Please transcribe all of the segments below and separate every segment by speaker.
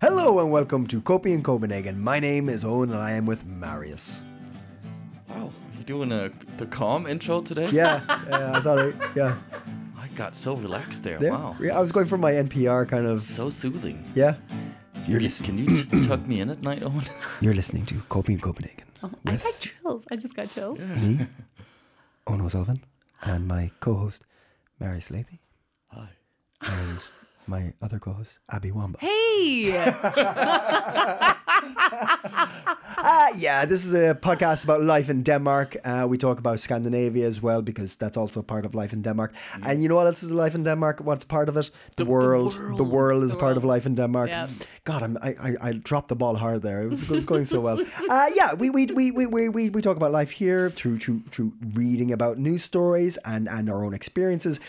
Speaker 1: Hello and welcome to Copy in Copenhagen. My name is Owen and I am with Marius.
Speaker 2: Wow, you're doing a the calm intro today.
Speaker 1: Yeah, yeah I thought I, yeah.
Speaker 2: I got so relaxed there.
Speaker 1: There,
Speaker 2: Wow,
Speaker 1: yeah, I was going for my NPR kind of,
Speaker 2: so soothing.
Speaker 1: yeah. You're,
Speaker 2: Can-
Speaker 1: listening.
Speaker 2: Can you t- tuck me in at night, Owen?
Speaker 1: You're listening to Copy in Copenhagen
Speaker 3: Oh, I
Speaker 1: with
Speaker 3: got chills. I just got chills.
Speaker 1: me, Owen O'Sullivan, and my co-host, Marius Lathy,
Speaker 2: Hi.
Speaker 1: and my other co-host, Abby Wamba.
Speaker 3: Hey,
Speaker 1: Ah, yeah, this is a podcast about life in Denmark. Uh, we talk about Scandinavia as well because that's also part of life in Denmark. And you know what else is life in Denmark? What's part of it? The, world. The world is a part of life in Denmark.
Speaker 3: Yep.
Speaker 1: God, I'm, I, I I dropped the ball hard there. It was, it was going so well. Uh, yeah, we we, we, we, we we we talk about life here through through through reading about news stories and and our own experiences.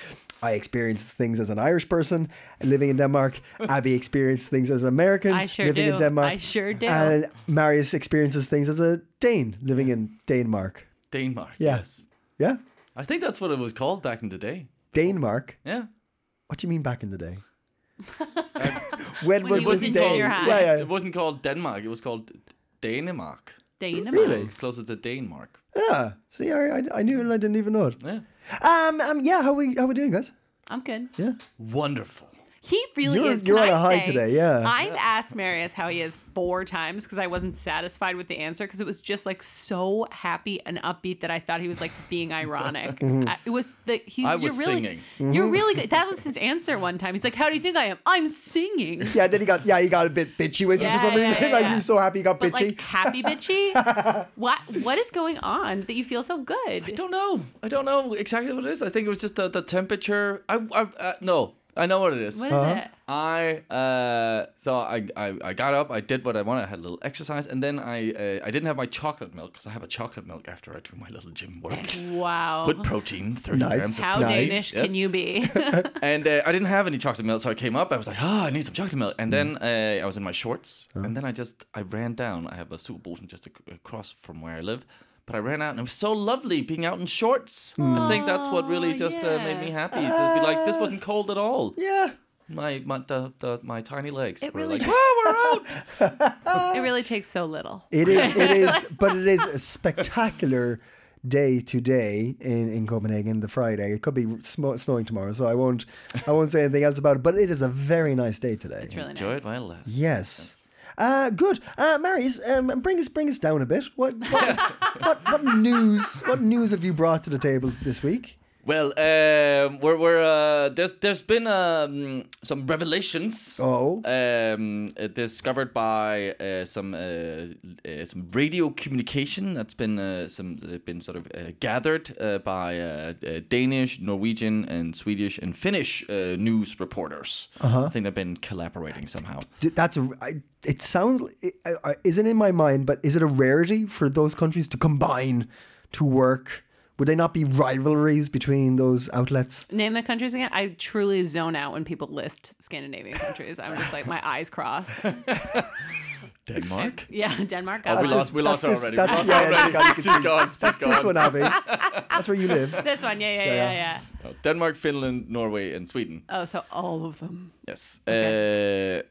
Speaker 1: I experienced things as an Irish person living in Denmark. Abby experienced things as an American
Speaker 3: I sure
Speaker 1: living in
Speaker 3: do.
Speaker 1: Denmark. Uh,
Speaker 3: I sure do.
Speaker 1: And Marius experiences things as a Dane living in Denmark.
Speaker 2: Denmark.
Speaker 1: Yeah.
Speaker 2: Yes.
Speaker 1: Yeah,
Speaker 2: I think that's what it was called back in the day.
Speaker 1: Denmark.
Speaker 2: Yeah.
Speaker 1: What do you mean back in the day? when,
Speaker 3: When
Speaker 1: was
Speaker 3: he was
Speaker 1: this
Speaker 3: in
Speaker 1: day?
Speaker 3: junior high.
Speaker 1: Yeah, yeah.
Speaker 2: It wasn't called Denmark. It was called Danemark.
Speaker 3: Dana.
Speaker 1: Really?
Speaker 2: It was closer to Denmark.
Speaker 1: yeah. See, I, I, I knew and I didn't even know it.
Speaker 2: Yeah.
Speaker 1: Um, um, yeah. How we how we doing, guys?
Speaker 3: I'm good.
Speaker 1: Yeah.
Speaker 2: Wonderful.
Speaker 3: He really
Speaker 1: You're-
Speaker 3: is. Can
Speaker 1: you're on
Speaker 3: I
Speaker 1: a high
Speaker 3: say,
Speaker 1: today, yeah.
Speaker 3: I've asked Marius how he is four times because I wasn't satisfied with the answer because it was just like so happy and upbeat that I thought he was like being ironic.
Speaker 1: Mm-hmm.
Speaker 3: I- it was the he.
Speaker 2: I
Speaker 3: you're
Speaker 2: was
Speaker 3: really,
Speaker 2: singing.
Speaker 3: You're really good. That was his answer one time. He's like, "How do you think I am? I'm singing."
Speaker 1: Yeah. Then he got yeah he got a bit bitchy with you
Speaker 3: Yeah,
Speaker 1: for some
Speaker 3: yeah,
Speaker 1: reason.
Speaker 3: yeah,
Speaker 1: like
Speaker 3: yeah.
Speaker 1: he was so happy he got
Speaker 3: But
Speaker 1: bitchy.
Speaker 3: like happy bitchy. what what is going on that you feel so good?
Speaker 2: I don't know. I don't know exactly what it is. I think it was just the, the temperature. I, I uh, no. I know what it is.
Speaker 3: What is
Speaker 1: Uh-huh.
Speaker 3: it?
Speaker 2: I uh, so I, I I got up. I did what I wanted. I had a little exercise, and then I uh, I didn't have my chocolate milk because I have a chocolate milk after I do my little gym work
Speaker 3: Wow.
Speaker 2: with protein, thirty
Speaker 1: Nice.
Speaker 2: grams. Of
Speaker 3: How
Speaker 1: Nice.
Speaker 2: protein,
Speaker 3: Danish
Speaker 2: yes.
Speaker 3: can you be?
Speaker 2: And uh, I didn't have any chocolate milk, so I came up. I was like, ah, I need some chocolate milk. And then uh, I was in my shorts, and then I just I ran down. I have a superbosen just ac- across from where I live, but I ran out, and it was so lovely being out in shorts. I think that's what really
Speaker 3: Aw,
Speaker 2: just uh, made
Speaker 3: yeah.
Speaker 2: me happy. to be like, this wasn't cold at all.
Speaker 1: yeah.
Speaker 2: My my the, the my tiny legs
Speaker 3: It
Speaker 2: were
Speaker 3: really
Speaker 2: like,
Speaker 3: does.
Speaker 2: oh, we're out.
Speaker 3: It really takes so little.
Speaker 1: It is. It is. but it is a spectacular day today in, in Copenhagen. The Friday. It could be smo snowing tomorrow, so I won't. I won't say anything else about it. But it is a very nice day today.
Speaker 3: It's really
Speaker 2: Enjoy
Speaker 3: nice.
Speaker 2: it while it lasts.
Speaker 1: Yes. Uh, good. Uh, Marius, um, bring us bring us down a bit. What what, what what news? What news have you brought to the table this week?
Speaker 2: Well, um, we're, we're uh, there's there's been um, some revelations.
Speaker 1: Oh.
Speaker 2: Um, uh, discovered by uh, some uh, uh, some radio communication that's been uh, some uh, been sort of uh, gathered uh, by uh, uh, Danish, Norwegian, and Swedish and Finnish uh, news reporters.
Speaker 1: Uh-huh.
Speaker 2: I think they've been collaborating somehow.
Speaker 1: D- That's a. I, it sounds it, I, I- isn't in my mind, but is it a rarity for those countries to combine to work? Would they not be rivalries between those outlets?
Speaker 3: Name the countries again. I truly zone out when people list Scandinavian countries. I'm just like my eyes cross.
Speaker 2: Denmark.
Speaker 3: Yeah, Denmark.
Speaker 2: Oh, we
Speaker 3: Got
Speaker 2: lost. We
Speaker 1: that's
Speaker 2: lost her
Speaker 1: this-
Speaker 2: already.
Speaker 1: that's-
Speaker 2: we lost
Speaker 1: yeah,
Speaker 2: her
Speaker 1: yeah,
Speaker 2: already.
Speaker 1: that's-
Speaker 2: She's gone. She's gone.
Speaker 1: This one, Abby. That's where you live.
Speaker 3: this one. Yeah, yeah, yeah,
Speaker 1: Yeah,
Speaker 3: yeah,
Speaker 1: yeah.
Speaker 2: Denmark, Finland, Norway, and Sweden.
Speaker 3: Oh, so all of them.
Speaker 2: Yes. Uh,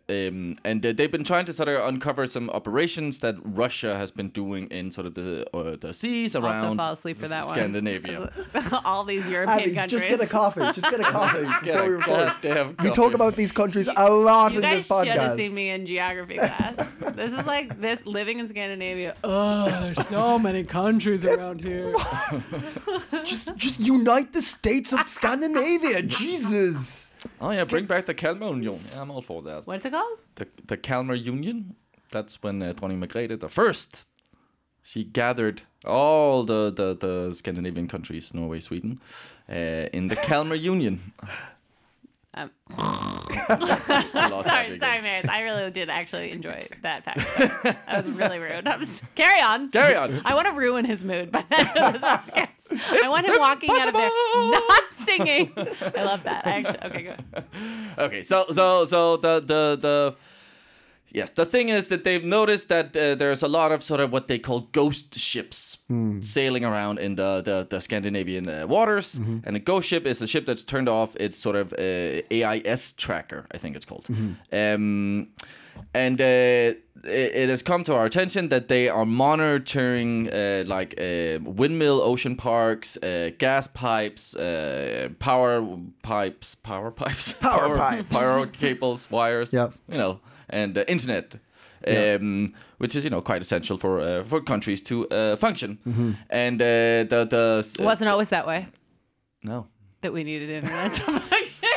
Speaker 2: um, and uh, they've been trying to sort of uncover some operations that Russia has been doing in sort of the uh, the seas
Speaker 3: Also
Speaker 2: around
Speaker 3: fall asleep for that one.
Speaker 2: Scandinavia.
Speaker 3: all these European
Speaker 1: Abby,
Speaker 3: countries.
Speaker 1: just get a coffee. Just get a coffee
Speaker 2: Get
Speaker 1: before
Speaker 2: a
Speaker 1: we record.
Speaker 2: goddamn
Speaker 1: We talk
Speaker 2: coffee.
Speaker 1: about these countries a lot
Speaker 3: you
Speaker 1: in
Speaker 3: guys
Speaker 1: this
Speaker 3: should have
Speaker 1: podcast.
Speaker 3: seen me in geography class. this is like this living in Scandinavia. Oh, there's so many countries around here.
Speaker 1: Just unite the states of Scandinavia, Jesus!
Speaker 2: Oh yeah, bring back the Kalmar Union. I'm all for that.
Speaker 3: What's it called?
Speaker 2: The the Kalmar Union. That's when uh, Dronning Margrethe the first. She gathered all the, the, the Scandinavian countries, Norway, Sweden, uh, in the Kalmar Union.
Speaker 3: Um,
Speaker 2: I lost that
Speaker 3: sorry,
Speaker 2: again.
Speaker 3: sorry, Maris. I really did actually enjoy that fact. That was really rude. I'm s carry on.
Speaker 2: Carry on.
Speaker 3: I want to ruin his mood by the end of this podcast. I want him walking out
Speaker 2: impossible.
Speaker 3: of there not singing. I love that. I actually okay, good.
Speaker 2: okay, so so so the the the yes, the thing is that they've noticed that uh, there's a lot of sort of what they call ghost ships
Speaker 1: Hmm.
Speaker 2: sailing around in the the, the Scandinavian uh, waters,
Speaker 1: Mm-hmm.
Speaker 2: and a ghost ship is a ship
Speaker 1: Mm-hmm.
Speaker 2: that's turned off its sort of uh, AIS tracker, I think it's called. Um, and uh, it, it has come to our attention that they are monitoring uh, like uh, windmill ocean parks, uh, gas pipes, uh, power pipes, power pipes,
Speaker 1: Power pipes.
Speaker 2: power cables, wires,
Speaker 1: Yep.
Speaker 2: you know, and uh, internet. Um, which is you know quite essential for uh, for countries to uh, function, and uh, the the
Speaker 3: It wasn't always that way
Speaker 2: no
Speaker 3: that we needed internet to function.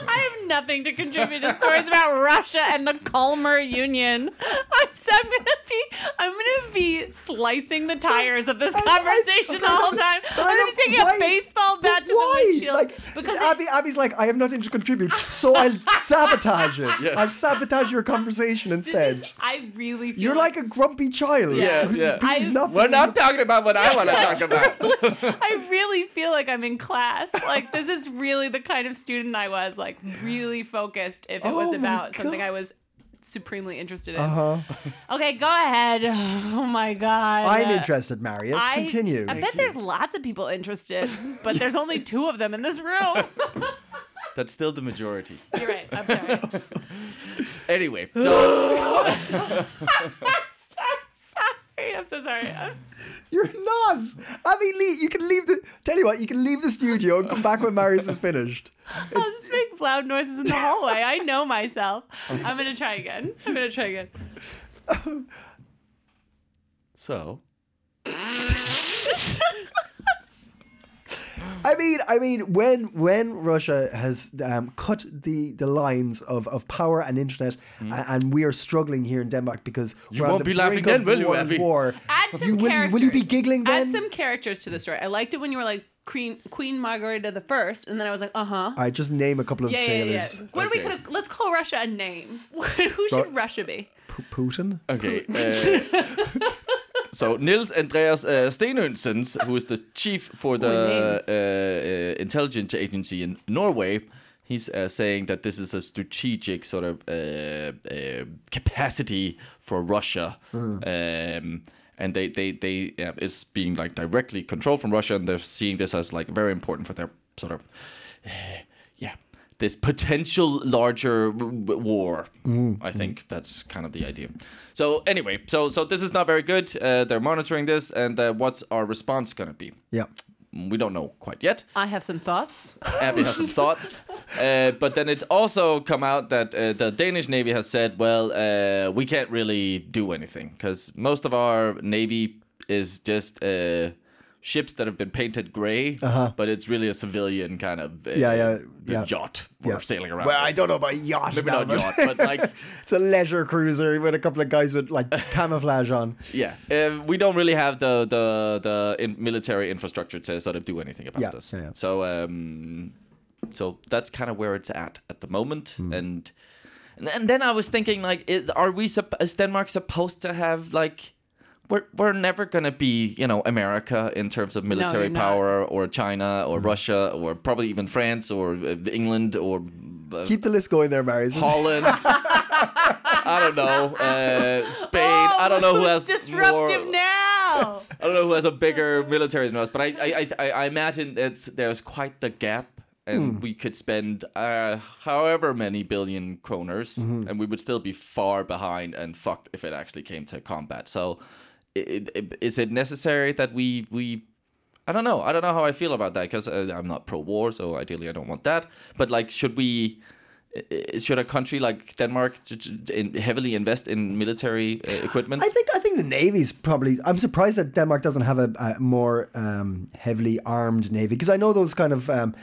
Speaker 3: I have nothing to contribute to stories about Russia and the Kalmar Union. I'm, so- I'm gonna be, I'm gonna be slicing the tires of this
Speaker 1: I- I-
Speaker 3: conversation the whole time.
Speaker 1: But I
Speaker 3: I'm gonna
Speaker 1: don't-
Speaker 3: be taking
Speaker 1: why-
Speaker 3: a baseball bat to
Speaker 1: why?
Speaker 3: the windshield
Speaker 1: Like,
Speaker 3: because I-
Speaker 1: Abby, Abby's like, I have nothing to contribute, so I'll sabotage it.
Speaker 2: Yes.
Speaker 1: I'll sabotage your conversation
Speaker 3: this
Speaker 1: instead.
Speaker 3: is- I really feel
Speaker 1: You're like a grumpy child
Speaker 2: Yeah,
Speaker 1: who's,
Speaker 2: yeah.
Speaker 1: who's
Speaker 3: I-
Speaker 1: not
Speaker 2: we're
Speaker 1: being-
Speaker 2: not talking about what I want to talk about.
Speaker 3: I really feel like I'm in class. Like this is really the kind of student I was. Like really focused if it
Speaker 1: Oh
Speaker 3: was
Speaker 1: my
Speaker 3: about something
Speaker 1: God.
Speaker 3: I was supremely interested in.
Speaker 1: Uh-huh.
Speaker 3: Okay, go ahead. Oh my god.
Speaker 1: I'm
Speaker 3: Uh,
Speaker 1: interested, Marius.
Speaker 3: I-
Speaker 1: Continue.
Speaker 3: I bet there's lots of people interested, but there's only two of them in this room.
Speaker 2: That's still the majority.
Speaker 3: You're right. I'm sorry.
Speaker 2: Anyway, so
Speaker 3: So sorry. I'm so sorry. I'm so-
Speaker 1: You're not. Abby, leave, you can leave the. Tell you what, you can leave the studio and come back when Marius is finished.
Speaker 3: I'll just make loud noises in the hallway. I know myself. I'm gonna try again. I'm gonna try again.
Speaker 2: so
Speaker 1: I mean, I mean, when when Russia has um, cut the, the lines of, of power and internet, a- and we are struggling here in Denmark because you
Speaker 2: Hmm. won't be laughing then, will you, Abby?
Speaker 1: War.
Speaker 3: Add some
Speaker 1: You- will, you,
Speaker 3: characters.
Speaker 1: will you be giggling then?
Speaker 3: Add some characters to the story. I liked it when you were like Queen Queen Margarita the First, and then I was like, uh huh.
Speaker 1: I just name a couple of
Speaker 3: Yeah, yeah, yeah.
Speaker 1: sailors.
Speaker 3: What do we
Speaker 2: Okay.
Speaker 3: could let's call Russia a name? Who should
Speaker 1: Ru-
Speaker 3: Russia be?
Speaker 1: P- Putin.
Speaker 2: okay. Uh, so Nils Andreas uh, Stenundsens, who is the chief for the
Speaker 3: name.
Speaker 2: uh, uh, intelligence agency in Norway, he's uh, saying that this is a strategic sort of uh, uh, capacity for Russia. Um, and they they they uh, is being like directly controlled from Russia, and they're seeing this as like very important for their sort of yeah this potential larger w- w- war i think that's kind of the idea so anyway so so this is not very good uh, they're monitoring this and uh, what's our response going to be
Speaker 1: Yeah.
Speaker 2: we don't know quite yet
Speaker 3: I have some thoughts.
Speaker 2: Abby has some thoughts. Uh, but then it's also come out that uh, the Danish Navy has said, well, uh, we can't really do anything because most of our Navy is just uh, ships that have been painted gray, but it's really a civilian kind of uh,
Speaker 1: Uh-huh. Yeah, yeah,
Speaker 2: the
Speaker 1: yeah.
Speaker 2: yacht we're
Speaker 1: Yeah.
Speaker 2: sailing around.
Speaker 1: Well, I
Speaker 2: with.
Speaker 1: don't know about yacht.
Speaker 2: Maybe
Speaker 1: now,
Speaker 2: not yacht, but like,
Speaker 1: it's a leisure cruiser with a couple of guys with like camouflage on.
Speaker 2: yeah, uh, we don't really have the the the in- military infrastructure to sort of do anything about
Speaker 1: Yeah,
Speaker 2: this.
Speaker 1: yeah, yeah.
Speaker 2: So um, so that's kind of where it's at at the moment,
Speaker 1: Hmm.
Speaker 2: and and then I was thinking like, it, are we sup- is Denmark supposed to have like? We're, we're never gonna be you know America in terms of military
Speaker 3: you're not.
Speaker 2: power or China
Speaker 1: Hmm.
Speaker 2: or Russia or probably even France or uh, England or uh,
Speaker 1: Keep the list going there, Marius.
Speaker 2: Holland. I don't know. Uh, Spain. I don't know who
Speaker 3: who's
Speaker 2: has
Speaker 3: Oh, disruptive
Speaker 2: more-
Speaker 3: now.
Speaker 2: I don't know who has a bigger military than us, but I I, I, I imagine it's there's quite the gap, and
Speaker 1: Hmm.
Speaker 2: we could spend uh, however many billion kroners,
Speaker 1: Mm-hmm.
Speaker 2: and we would still be far behind and fucked if it actually came to combat. So, i i is it necessary that we we I don't know. I don't know how I feel about that because uh, I'm not pro-war, so ideally I don't want that. But like, should we? i- i- Should a country like Denmark j- j- in- heavily invest in military uh, equipment?
Speaker 1: I think I think the navy's probably. I'm surprised that Denmark doesn't have a, a more um, heavily armed navy because I know those kind of um,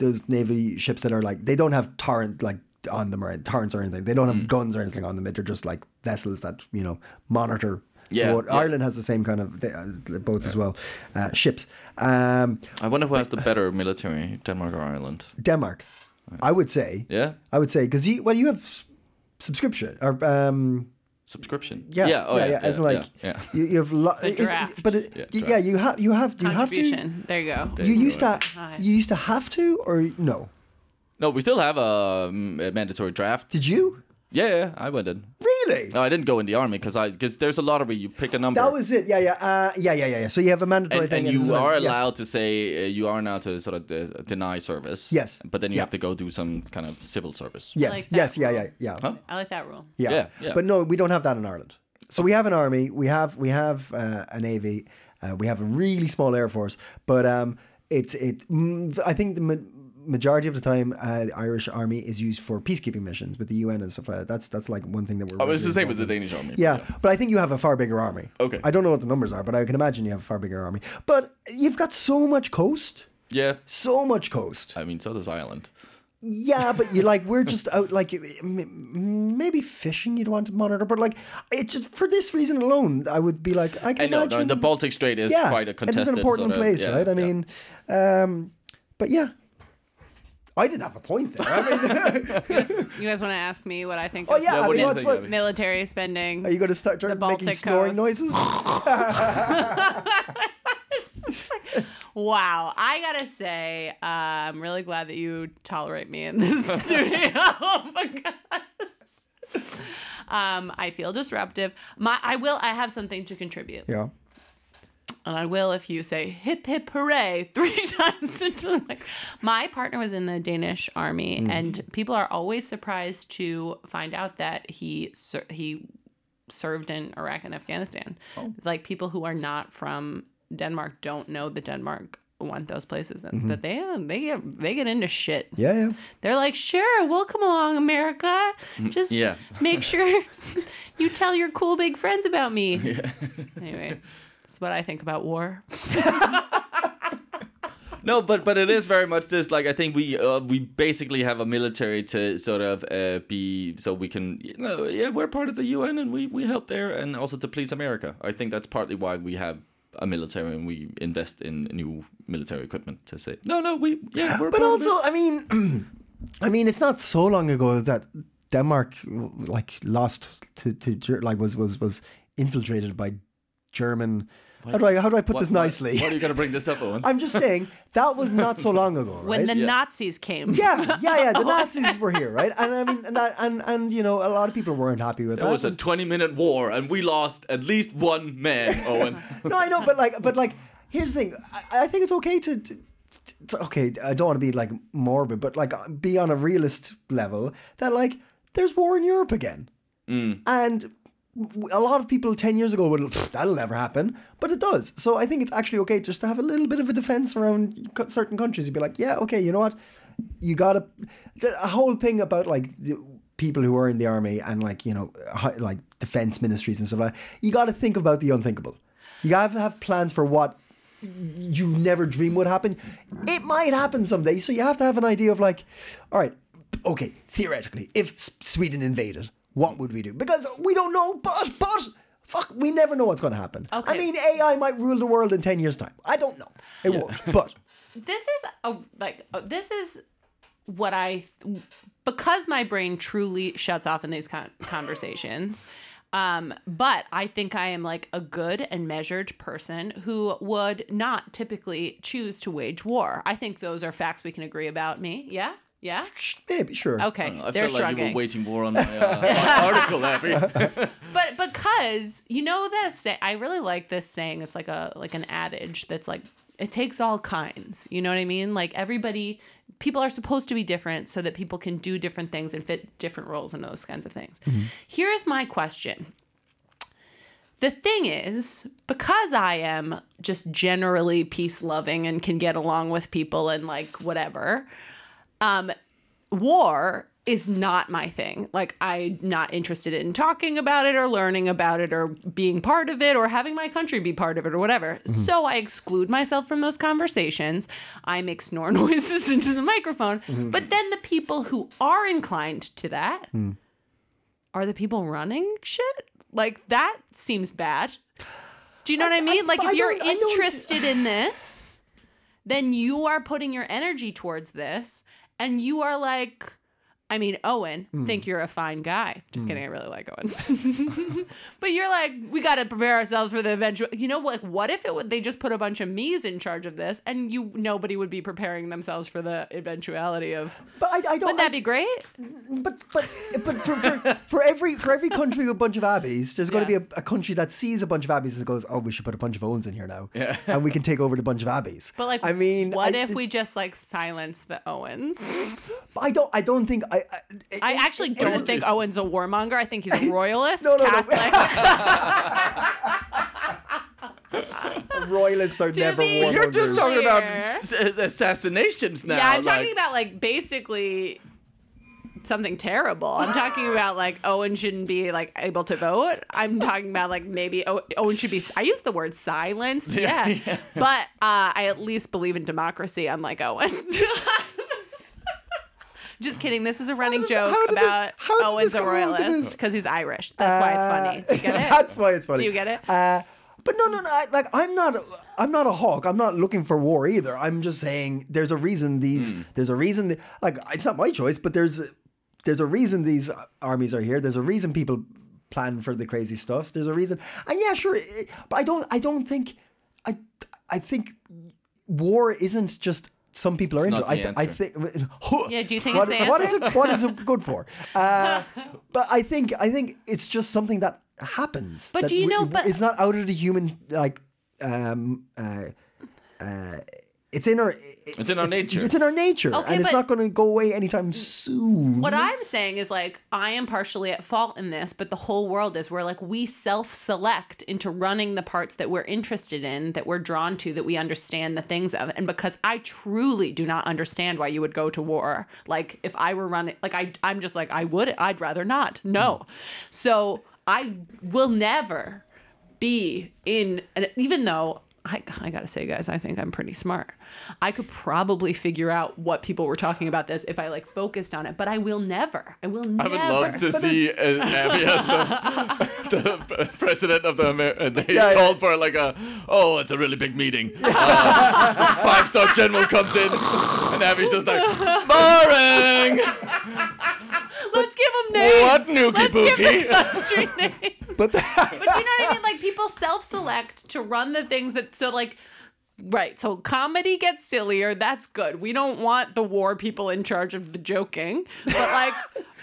Speaker 1: those navy ships that are like they don't have torrent like on them or torrents or anything. They don't have
Speaker 2: Mm.
Speaker 1: guns or anything on them. They're just like vessels that you know monitor.
Speaker 2: Yeah,
Speaker 1: what-
Speaker 2: yeah.
Speaker 1: Ireland has the same kind of they, uh, boats as well, uh, ships. Um,
Speaker 2: I wonder who has the better military, Denmark or Ireland.
Speaker 1: Denmark, I would say.
Speaker 2: Yeah,
Speaker 1: I would say because you well you have s- subscription or um,
Speaker 2: subscription.
Speaker 1: Yeah,
Speaker 2: yeah, oh, yeah, yeah,
Speaker 1: As in,
Speaker 2: yeah,
Speaker 1: like
Speaker 2: yeah.
Speaker 1: You, you have lo-
Speaker 3: The
Speaker 1: it's-
Speaker 3: draft.
Speaker 1: but it,
Speaker 2: Yeah,
Speaker 1: yeah,
Speaker 2: draft.
Speaker 1: you have you have you have to.
Speaker 3: Contribution. there you go.
Speaker 1: You used to
Speaker 3: Hi.
Speaker 1: you used to have to or no?
Speaker 2: No, we still have a, um, a mandatory draft.
Speaker 1: Did you?
Speaker 2: Yeah, yeah, I went in.
Speaker 1: Really?
Speaker 2: No, I didn't go in the army because I because there's a lottery. You pick a number.
Speaker 1: That was it. Yeah, yeah, uh, yeah, yeah, yeah, yeah. So you have a mandatory
Speaker 2: and,
Speaker 1: thing,
Speaker 2: and you
Speaker 1: it's
Speaker 2: are
Speaker 1: like- yes.
Speaker 2: allowed to say uh, you are now to sort of de- deny service.
Speaker 1: Yes.
Speaker 2: But then you
Speaker 1: Yeah.
Speaker 2: have to go do some kind of civil service.
Speaker 1: Yes,
Speaker 3: Like that.
Speaker 1: yes, yeah, yeah, yeah.
Speaker 2: Huh?
Speaker 3: I like that rule.
Speaker 1: Yeah.
Speaker 2: Yeah, yeah.
Speaker 1: But no, we don't have that in Ireland. So we have an army, we have we have uh, a navy, uh, we have a really small air force, but um, it's it. Mm, I think the ma- majority of the time, uh, the Irish army is used for peacekeeping missions with the UN and stuff like that. That's that's like one thing that we're.
Speaker 2: Oh, it's the
Speaker 1: really
Speaker 2: same with
Speaker 1: involved
Speaker 2: the
Speaker 1: in.
Speaker 2: Danish army.
Speaker 1: Yeah, but I think you have a far bigger army.
Speaker 2: Okay.
Speaker 1: I don't know what the numbers are, but I can imagine you have a far bigger army. But you've got so much coast,
Speaker 2: Yeah.
Speaker 1: so much coast.
Speaker 2: I mean, so does Ireland.
Speaker 1: Yeah, but you're like we're just out like m- maybe fishing you'd want to monitor, but like it's just for this reason alone, I would be like I can
Speaker 2: I know
Speaker 1: imagine
Speaker 2: no, the Baltic Strait is
Speaker 1: yeah,
Speaker 2: quite a
Speaker 1: it
Speaker 2: contested.
Speaker 1: is an important
Speaker 2: sort of-
Speaker 1: place,
Speaker 2: yeah,
Speaker 1: right? I
Speaker 2: yeah.
Speaker 1: mean, um, but yeah, I didn't have a point there. I mean,
Speaker 3: You guys want to ask me what I think?
Speaker 1: oh
Speaker 3: of
Speaker 1: yeah,
Speaker 2: Yeah,
Speaker 1: I
Speaker 2: what do
Speaker 1: mean,
Speaker 2: you
Speaker 1: what's
Speaker 2: think,
Speaker 1: what? Oh,
Speaker 2: Abby?
Speaker 3: military spending.
Speaker 1: Are you going to start turn, making
Speaker 3: Baltic
Speaker 1: snoring
Speaker 3: coast.
Speaker 1: noises?
Speaker 3: Wow, I gotta say, uh, I'm really glad that you tolerate me in this studio because um, I feel disruptive. My, I will. I have something to contribute,
Speaker 1: yeah,
Speaker 3: and I will if you say "hip hip hooray" three times into the mic. My partner was in the Danish army, and people are always surprised to find out that he ser- he served in Iraq and Afghanistan. Like people who are not from Denmark don't know that Denmark went those places, and but they they get they get into shit.
Speaker 1: yeah, yeah.
Speaker 3: They're like, sure, we'll come along, America. Just
Speaker 2: yeah.
Speaker 3: make sure you tell your cool big friends about me. Anyway, that's what I think about war.
Speaker 2: No, but but it is very much this. Like I think we uh, we basically have a military to sort of uh, be so we can you know yeah we're part of the UN and we we help there and also to please America. I think that's partly why we have a military and we invest in new military equipment to say no no we yeah we're
Speaker 1: But
Speaker 2: part of it."
Speaker 1: also, I mean, I mean, it's not so long ago that Denmark like lost to to Ger- like was was was infiltrated by German. How do I how do I put this
Speaker 2: What-
Speaker 1: nicely?
Speaker 2: What, are you gonna bring this up, Owen?
Speaker 1: I'm just saying that was not so long ago, right?
Speaker 3: When the Nazis came.
Speaker 1: yeah, yeah, yeah. The Nazis were here, right? And I mean, and, that, and and you know, a lot of people weren't happy with
Speaker 2: It
Speaker 1: that.
Speaker 2: was a 20 minute war and we lost at least one man, Owen.
Speaker 1: no, I know, but like, but like, here's the thing. I, I think it's okay to, to, to- Okay, I don't want to be like morbid, but like, be on a realist level that like, there's war in Europe again, and w- a lot of people 10 years ago would "Pfft, that'll never happen but it does so i think it's actually okay just to have a little bit of a defense around co- certain countries you'd be like yeah okay you know what you gotta the- a whole thing about like the people who are in the army and like you know hi- like defense ministries and stuff like that you gotta think about the unthinkable you gotta have plans for what you never dream would happen. It might happen someday. So you have to have an idea of like, all right, okay, theoretically, if S- Sweden invaded, what would we do? Because we don't know, but, but, fuck, we never know what's going to happen. I
Speaker 3: Okay.
Speaker 1: mean, AI might rule the world in 10 years' time. I don't know. It won't, but.
Speaker 3: This is a like uh, this is what I th- because my brain truly shuts off in these con- conversations. Um, but I think I am like a good and measured person who would not typically choose to wage war. I think those are facts we can agree about. Me, yeah, yeah.
Speaker 1: Maybe, sure.
Speaker 3: Okay,
Speaker 2: I
Speaker 3: they're
Speaker 2: felt like you were
Speaker 3: shrugging.
Speaker 2: waging war on my uh, article, Abby.
Speaker 3: but because you know this, say- I really like this saying. It's like a like an adage that's like it takes all kinds. You know what I mean? Like everybody, people are supposed to be different so that people can do different things and fit different roles and those kinds of things. Here's my question. The thing is, because I am just generally peace loving and can get along with people and like whatever, um, war is not my thing. Like, I'm not interested in talking about it or learning about it or being part of it or having my country be part of it or whatever. So I exclude myself from those conversations. I make snore noises into the microphone. But then the people who are inclined to that are the people running shit? Like that seems bad. Do you know what I mean? like
Speaker 1: but I
Speaker 3: if you're
Speaker 1: don't- I don't-
Speaker 3: interested in this, then you are putting your energy towards this and you are like I mean, Owen,
Speaker 1: Hmm.
Speaker 3: think you're a fine guy. Just kidding, I really like Owen. but you're like, we got to prepare ourselves for the eventual. You know, like what if it would? They just put a bunch of me's in charge of this, and you nobody would be preparing themselves for the eventuality of.
Speaker 1: But I, I don't.
Speaker 3: Wouldn't that be great?
Speaker 1: but but but for, for, for every for every country with a bunch of abbeys, there's going to
Speaker 3: Yeah.
Speaker 1: be a, a country that sees a bunch of abbeys and goes, "Oh, we should put a bunch of Owens in here now, yeah. and we can take over the bunch of abbeys."
Speaker 3: But like,
Speaker 1: I mean,
Speaker 3: what
Speaker 1: I-
Speaker 3: if we just like silence the Owens?
Speaker 1: I don't. I don't think. I. I, it-
Speaker 3: I
Speaker 1: it-
Speaker 3: actually
Speaker 1: it-
Speaker 3: don't
Speaker 1: it-
Speaker 3: think Owen's a warmonger. I think he's a royalist,
Speaker 1: No, no, no.
Speaker 3: Catholic.
Speaker 1: royalists are never.
Speaker 3: be-
Speaker 1: warm
Speaker 2: You're
Speaker 1: hungers.
Speaker 2: just talking about
Speaker 3: Clear.
Speaker 2: s- assassinations now.
Speaker 3: yeah, I'm
Speaker 2: like,
Speaker 3: talking about like basically something terrible. I'm talking about like Owen shouldn't be like able to vote. I'm talking about like maybe o- Owen should be. I use the word silenced. Yeah,
Speaker 2: Yeah, yeah.
Speaker 3: but uh, I at least believe in democracy, unlike Owen. Just kidding. This is a running
Speaker 1: did-
Speaker 3: joke
Speaker 1: how did this-
Speaker 3: about
Speaker 1: how did
Speaker 3: Owen's
Speaker 1: this
Speaker 3: a
Speaker 1: go into
Speaker 3: royalist
Speaker 1: this? Uh,
Speaker 3: because he's Irish. That's why it's funny. Do you get it?
Speaker 1: That's why it's funny.
Speaker 3: Do you get it?
Speaker 1: Uh, but no, no, no. I- Like I'm not, I'm not a hawk. I'm not looking for war either. I'm just saying there's a reason these,
Speaker 2: Hmm.
Speaker 1: there's a reason. That, like it's not my choice, but there's, there's a reason these armies are here. There's a reason people plan for the crazy stuff. There's a reason, and yeah, sure. It, but I don't, I don't think, I, I think war isn't just. Some people are
Speaker 2: It's
Speaker 1: into.
Speaker 2: not
Speaker 1: it.
Speaker 2: the
Speaker 1: I, th- I
Speaker 2: answer.
Speaker 1: think.
Speaker 3: Yeah, do you think
Speaker 1: what-
Speaker 3: it's the
Speaker 1: what is
Speaker 3: answer?
Speaker 1: it? What is it good for? Uh, but I think I think it's just something that happens.
Speaker 3: But
Speaker 1: that
Speaker 3: do you know- but-
Speaker 1: it's not out of the human like. Um, uh, uh, it's in our.
Speaker 2: It's in our nature.
Speaker 1: It's in our nature,
Speaker 3: Okay,
Speaker 1: and it's
Speaker 3: but-
Speaker 1: not going to go away anytime soon.
Speaker 3: What I'm saying is like I am partially at fault in this, but the whole world is where like we self-select into running the parts that we're interested in, that we're drawn to, that we understand the things of. And because I truly do not understand why you would go to war. Like if I were running like I I'm just like I would I'd rather not. No. So I will never be in and even though I, I gotta say guys i think i'm pretty smart i could probably figure out what people were talking about this if i like focused on it but i will never i will
Speaker 2: I
Speaker 3: never
Speaker 2: would love to
Speaker 1: but
Speaker 2: see uh, Abby as the, the president of the America. They
Speaker 1: Yeah, yeah.
Speaker 2: called for like a, oh, it's a really big meeting. Uh, this five star general comes in, and Abby's just like, boring.
Speaker 3: let's give them names
Speaker 2: What's nookie
Speaker 3: let's give the
Speaker 2: pookie?
Speaker 3: country names
Speaker 1: But
Speaker 3: but you know what I mean? Like people self-select to run the things that so like right. So comedy gets sillier. That's good. We don't want the war people in charge of the joking. But like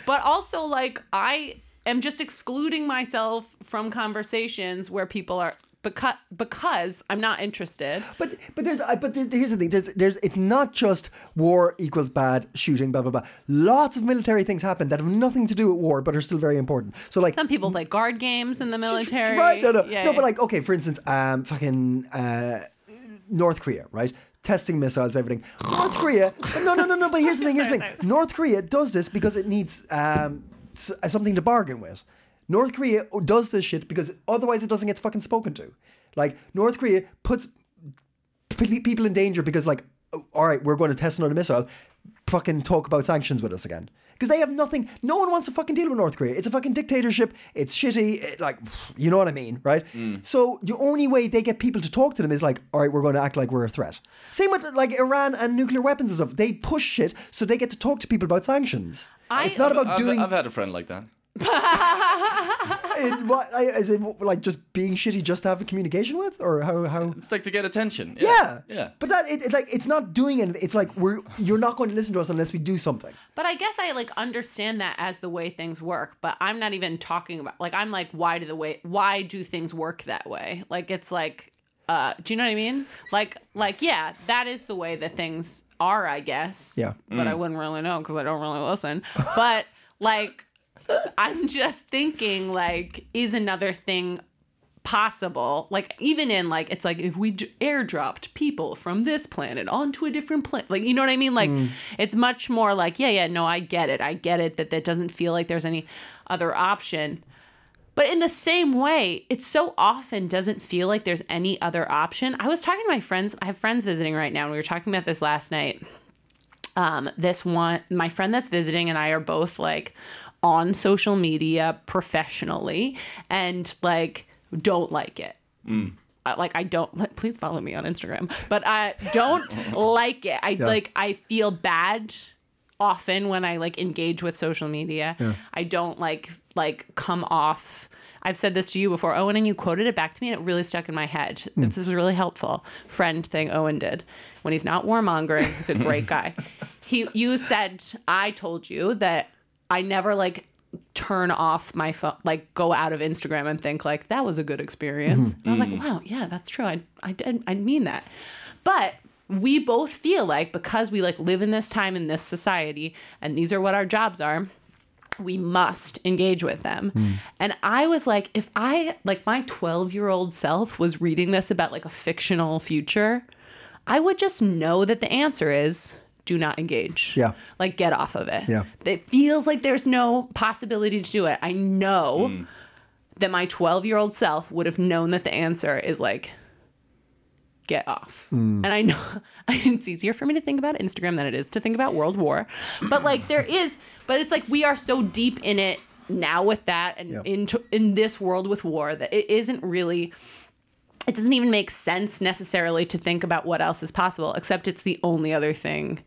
Speaker 3: but also like I am just excluding myself from conversations where people are because because I'm not interested.
Speaker 1: But but there's I- but there, here's the thing. There's there's it's not just war equals bad shooting blah blah blah. Lots of military things happen that have nothing to do with war but are still very important. So like
Speaker 3: Some people play guard games in the military.
Speaker 1: Right? No, no,
Speaker 3: Yeah,
Speaker 1: no.
Speaker 3: yeah.
Speaker 1: But like, okay, for instance, um, fucking uh, North Korea, right? Testing missiles, everything. North Korea. No, no, no, no. But here's the thing. Here's the
Speaker 3: Sorry,
Speaker 1: thing. North Korea does this because it needs um, s- something to bargain with. North Korea does this shit because otherwise it doesn't get fucking spoken to. Like North Korea puts p- people in danger because like oh, all right we're going to test another missile fucking talk about sanctions with us again because they have nothing no one wants to fucking deal with north korea it's a fucking dictatorship it's shitty it, like you know what i mean right so the only way they get people to talk to them is like all right we're going to act like we're a threat same with like iran and nuclear weapons and stuff they push shit so they get to talk to people about sanctions
Speaker 3: I-
Speaker 1: it's not about
Speaker 2: I've,
Speaker 1: doing
Speaker 2: I've had a friend like that.
Speaker 1: it, what, I, is it like just being shitty just to have a communication with or how how
Speaker 2: It's like to get attention.
Speaker 1: Yeah.
Speaker 2: Yeah. Yeah.
Speaker 1: But that it, it's like it's not doing anything. It's like we're you're not going to listen to us unless we do something.
Speaker 3: But I guess I like understand that as the way things work, but I'm not even talking about like I'm like why do the way why do things work that way? Like it's like uh do you know what I mean? Like like yeah, that is the way that things are, I guess.
Speaker 1: Yeah.
Speaker 3: But I wouldn't really know cuz I don't really listen. But like I'm just thinking like is another thing possible like even in like it's like if we j- airdropped people from this planet onto a different planet like you know what i mean like it's much more like yeah yeah no i get it i get it that that doesn't feel like there's any other option but in the same way, it so often doesn't feel like there's any other option. I was talking to my friends, I have friends visiting right now, and we were talking about this last night. Um, this one, my friend that's visiting and I are both like on social media professionally and like don't like it. I- like I don't like, please follow me on Instagram, but I don't like it. I like I feel bad often when I like engage with social media. I don't like like come off. I've said this to you before, Owen, and you quoted it back to me, and it really stuck in my head. This was really helpful friend thing Owen did when he's not warmongering. He's a great guy. He, you said, I told you that I never like turn off my phone, like go out of Instagram and think like that was a good experience. And I was like, wow, yeah, that's true. I, I did, I mean that. But we both feel like because we like live in this time in this society and these are what our jobs are, we must engage with them. And I was like, if I like my 12 year old self was reading this about like a fictional future, I would just know that the answer is do not engage.
Speaker 1: Yeah.
Speaker 3: Like get off of it.
Speaker 1: Yeah.
Speaker 3: It feels like there's no possibility to do it. I know that my 12 year old self would have known that the answer is like, get off. And I know it's easier for me to think about Instagram than it is to think about World War. But like there is, but it's like we are so deep in it now with that and
Speaker 1: Yep.
Speaker 3: into in this world with war that it isn't really it doesn't even make sense necessarily to think about what else is possible except it's the only other thing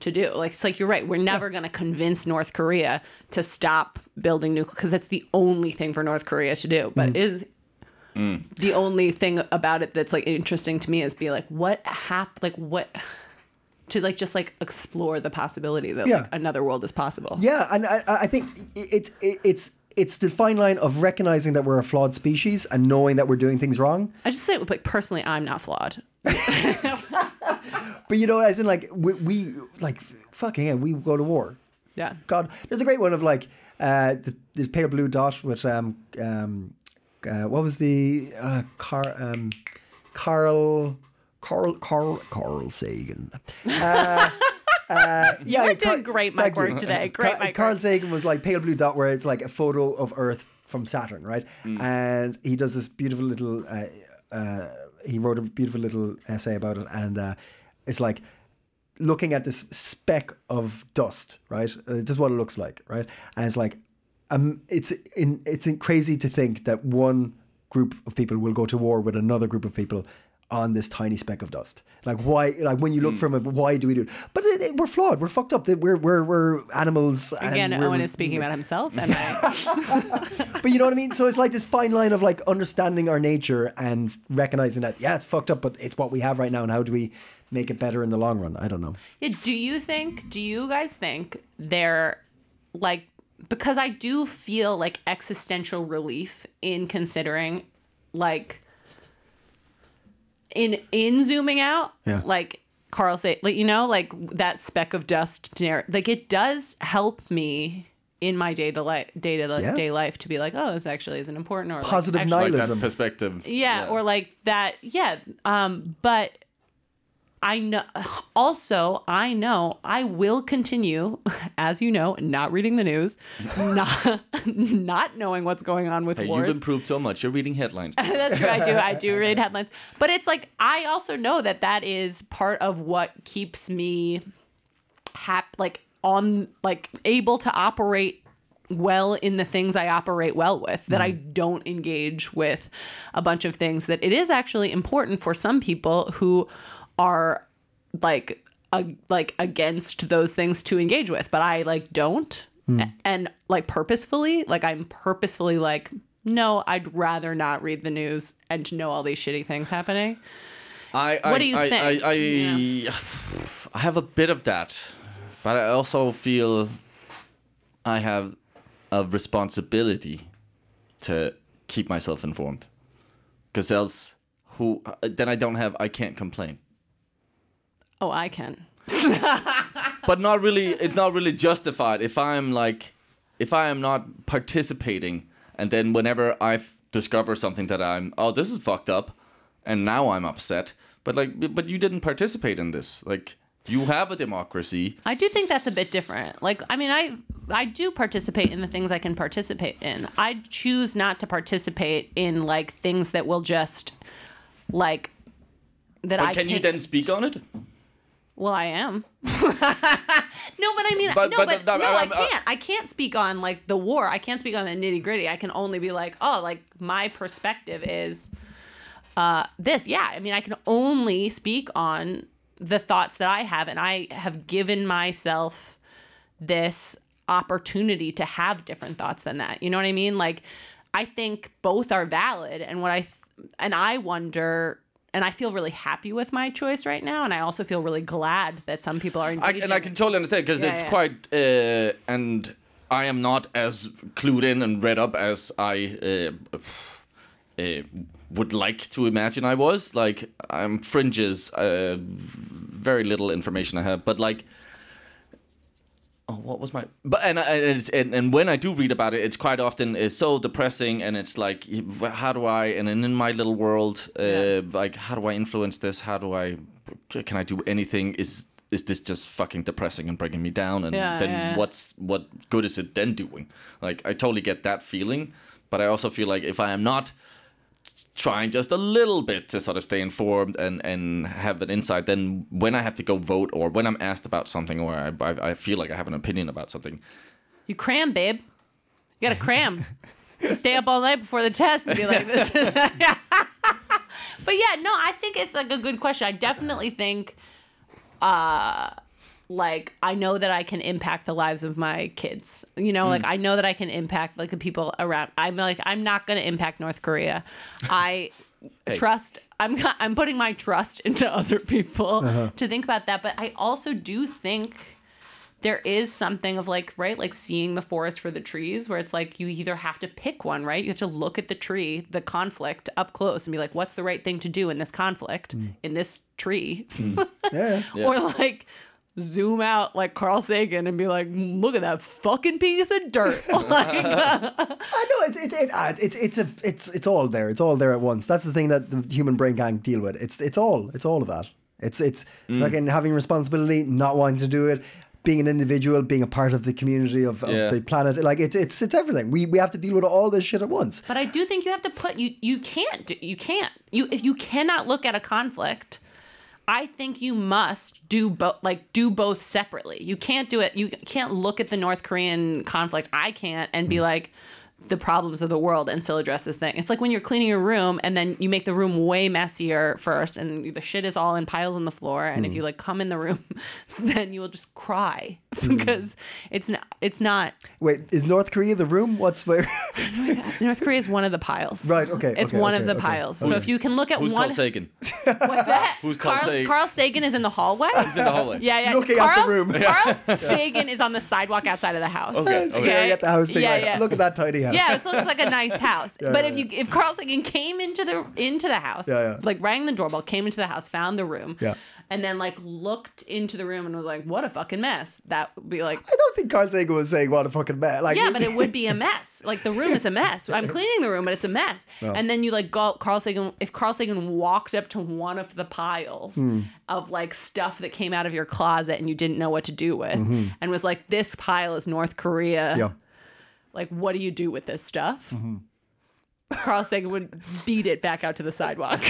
Speaker 3: to do like it's like you're right we're never going to convince north korea to stop building nuclear because that's the only thing for north korea to do
Speaker 1: Mm.
Speaker 3: but it is the only thing about it that's like interesting to me is be like what hap like what to like just like explore the possibility that
Speaker 1: Yeah.
Speaker 3: like another world is possible
Speaker 1: Yeah, and I, I I think it's it, it's it's the fine line of recognizing that we're a flawed species and knowing that we're doing things wrong.
Speaker 3: i just say like personally i'm not flawed
Speaker 1: But you know, as in like we, we like fucking yeah, we go to war.
Speaker 3: yeah
Speaker 1: God, there's a great one of like uh, the, the pale blue dot with um um uh, what was the uh, car um Carl Carl Carl Carl Sagan. Uh, uh, yeah,
Speaker 3: did great mic
Speaker 1: thank you.
Speaker 3: work today. Great
Speaker 1: Ca-
Speaker 3: mic
Speaker 1: Carl
Speaker 3: work.
Speaker 1: Sagan was like pale blue dot, where it's like a photo of Earth from Saturn, right?
Speaker 3: Mm.
Speaker 1: And he does this beautiful little. Uh, uh, he wrote a beautiful little essay about it, and uh, it's like looking at this speck of dust, right? Uh, this is what it looks like, right? And it's like, um, it's in, it's in crazy to think that one group of people will go to war with another group of people on this tiny speck of dust. Like why? Like when you look from it, why do we do it? But it, it- we're flawed. We're fucked up. That We're we're we're animals.
Speaker 3: again
Speaker 1: and we're-
Speaker 3: owen is speaking about himself and i
Speaker 1: But you know what I mean. So it's like this fine line of like understanding our nature and recognizing that yeah, it's fucked up, but it's what we have right now, and how do we make it better in the long run? I don't know.
Speaker 3: Yeah, do you think, do you guys think they're like, because I do feel like existential relief in considering, like, in in zooming out,
Speaker 1: Yeah.
Speaker 3: like Carl said, like you know, like that speck of dust, narr- like it does help me in my day to life, day to
Speaker 1: Yeah.
Speaker 3: day life, to be like, oh, this actually isn't important, or like,
Speaker 1: Positive
Speaker 3: actually-
Speaker 1: night
Speaker 2: like that
Speaker 1: Nihilism.
Speaker 2: perspective.
Speaker 3: yeah, or like that yeah um but i know also i know i will continue as you know not reading the news not not knowing what's going on with
Speaker 2: Hey, you've
Speaker 3: wars
Speaker 2: improved so much. You're reading headlines.
Speaker 3: that's true. I do. I do read headlines, but it's like I also know that that is part of what keeps me hap like on like able to operate well in the things I operate well with. That I don't engage with a bunch of things that it is actually important for some people who are like ag- like against those things to engage with, but I like don't.
Speaker 2: Hmm.
Speaker 3: A- And like purposefully, like I'm purposefully like no, I'd rather not read the news and to know all these shitty things happening.
Speaker 2: I, I,
Speaker 3: What do you
Speaker 2: I,
Speaker 3: think?
Speaker 2: I, I, I have a bit of that, but I also feel I have a responsibility to keep myself informed, because else, who uh, then I don't have, I can't complain.
Speaker 3: Oh, I can.
Speaker 2: but not really it's not really justified if i'm like if i am not participating and then whenever i f- discover something that i'm oh this is fucked up and now i'm upset but like b- but you didn't participate in this like you have a democracy
Speaker 3: I do think that's a bit different. Like, I mean, I I do participate in the things I can participate in. I choose not to participate in like things that will just like that I
Speaker 2: but can you
Speaker 3: can't-
Speaker 2: then speak on it
Speaker 3: Well, I am. no, but I mean,
Speaker 2: But-
Speaker 3: no,
Speaker 2: but-
Speaker 3: but,
Speaker 2: no,
Speaker 3: no, I
Speaker 2: I'm- uh, I-
Speaker 3: can't. I can't speak on like the war. I can't speak on the nitty gritty. I can only be like, oh, like my perspective is uh, this. Yeah, I mean, I can only speak on the thoughts that I have, and I have given myself this opportunity to have different thoughts than that. You know what I mean? Like I think both are valid and what I th- and I wonder and I feel really happy with my choice right now and I also feel really glad that some people are
Speaker 2: I,
Speaker 3: engaging.
Speaker 2: and I can totally understand because
Speaker 3: Yeah,
Speaker 2: it's
Speaker 3: yeah.
Speaker 2: quite uh, and I am not as clued in and read up as I uh, uh, would like to imagine I was. Like I'm fringes, uh, very little information I have, but like. Oh, what was my? But and I- and, it's, and and when I do read about it, it's quite often is so depressing, and it's like, how do I? And then in my little world, uh,
Speaker 3: Yeah.
Speaker 2: like, how do I influence this? How do I? Can I do anything? Is is this just fucking depressing and bringing me down? And
Speaker 3: Yeah,
Speaker 2: then
Speaker 3: yeah.
Speaker 2: what's what good is it then doing? Like, I totally get that feeling, but I also feel like if I am not trying just a little bit to sort of stay informed and and have an insight then when i have to go vote or when i'm asked about something or i, I, I feel like i have an opinion about something
Speaker 3: You cram, babe. You gotta cram. You Stay up all night before the test and be like, this is. but yeah, no, I think it's like a good question. I definitely think, uh, like, I know that I can impact the lives of my kids. You know, like, I know that I can impact, like, the people around. I'm like, I'm not gonna impact North Korea. I trust. I'm, not- I'm putting my trust into other people to think about that. But I also do think there is something of like right like seeing the forest for the trees where it's like you either have to pick one right you have to look at the tree the conflict up close and be like what's the right thing to do in this conflict in this tree
Speaker 1: Yeah.
Speaker 3: or like zoom out like carl sagan and be like look at that fucking piece of dirt like
Speaker 1: I know it's it's it, ah, it's it's it's a it's it's all there. It's all there at once. That's the thing that the human brain can't deal with. It's it's all it's all of that. It's it's
Speaker 2: Mm.
Speaker 1: like in having responsibility, not wanting to do it, being an individual, being a part of the community of, of
Speaker 2: Yeah.
Speaker 1: the planet. Like it's it's it's everything. We we have to deal with all this shit at once.
Speaker 3: But I do think you have to put you you can't do, you can't you if you cannot look at a conflict. I think you must do both like do both separately. You can't do it. You can't look at the North Korean conflict. I can't and be like the problems of the world and still address this thing. It's like when you're cleaning your room and then you make the room way messier first and the shit is all in piles on the floor and if you like come in the room then you will just cry because it's not it's not
Speaker 1: Wait, is North Korea the room? What's where?
Speaker 3: North Korea is one of the piles.
Speaker 1: Right, okay,
Speaker 3: It's
Speaker 1: okay,
Speaker 3: one
Speaker 1: okay,
Speaker 3: of the
Speaker 1: okay.
Speaker 3: piles. So
Speaker 1: Who's-
Speaker 3: if you can look at
Speaker 2: who's
Speaker 3: one.
Speaker 2: called taken
Speaker 3: What's that?
Speaker 2: Who's Carl
Speaker 3: Carl,
Speaker 2: Sagan?
Speaker 3: Carl Sagan is in the hallway.
Speaker 2: He's in the hallway
Speaker 3: Yeah, yeah.
Speaker 1: Looking
Speaker 3: Carl,
Speaker 1: out the room.
Speaker 3: Carl Sagan is on the sidewalk outside of the house.
Speaker 2: Okay,
Speaker 1: Staring at the house, being
Speaker 3: yeah,
Speaker 1: like,
Speaker 3: yeah.
Speaker 1: look at that tidy house.
Speaker 3: Yeah, this looks like a nice house. but
Speaker 1: yeah,
Speaker 3: if you if Carl Sagan came into the into the house,
Speaker 1: Yeah, yeah.
Speaker 3: like rang the doorbell, came into the house, found the room,
Speaker 1: Yeah.
Speaker 3: and then like looked into the room and was like, "What a fucking mess!" That would be like,
Speaker 1: I don't think Carl Sagan was saying what a fucking man. Like
Speaker 3: yeah, but it would be a mess. Like the room is a mess. I'm cleaning the room, but it's a mess. And then you like go Carl Sagan. If Carl Sagan walked up to one of the piles
Speaker 1: Hmm.
Speaker 3: of like stuff that came out of your closet and you didn't know what to do with, and was like, "This pile is North Korea.
Speaker 1: Mm-hmm. Yeah. Mm-hmm.
Speaker 3: Like, what do you do with this stuff?" Carl Sagan would beat it back out to the sidewalk.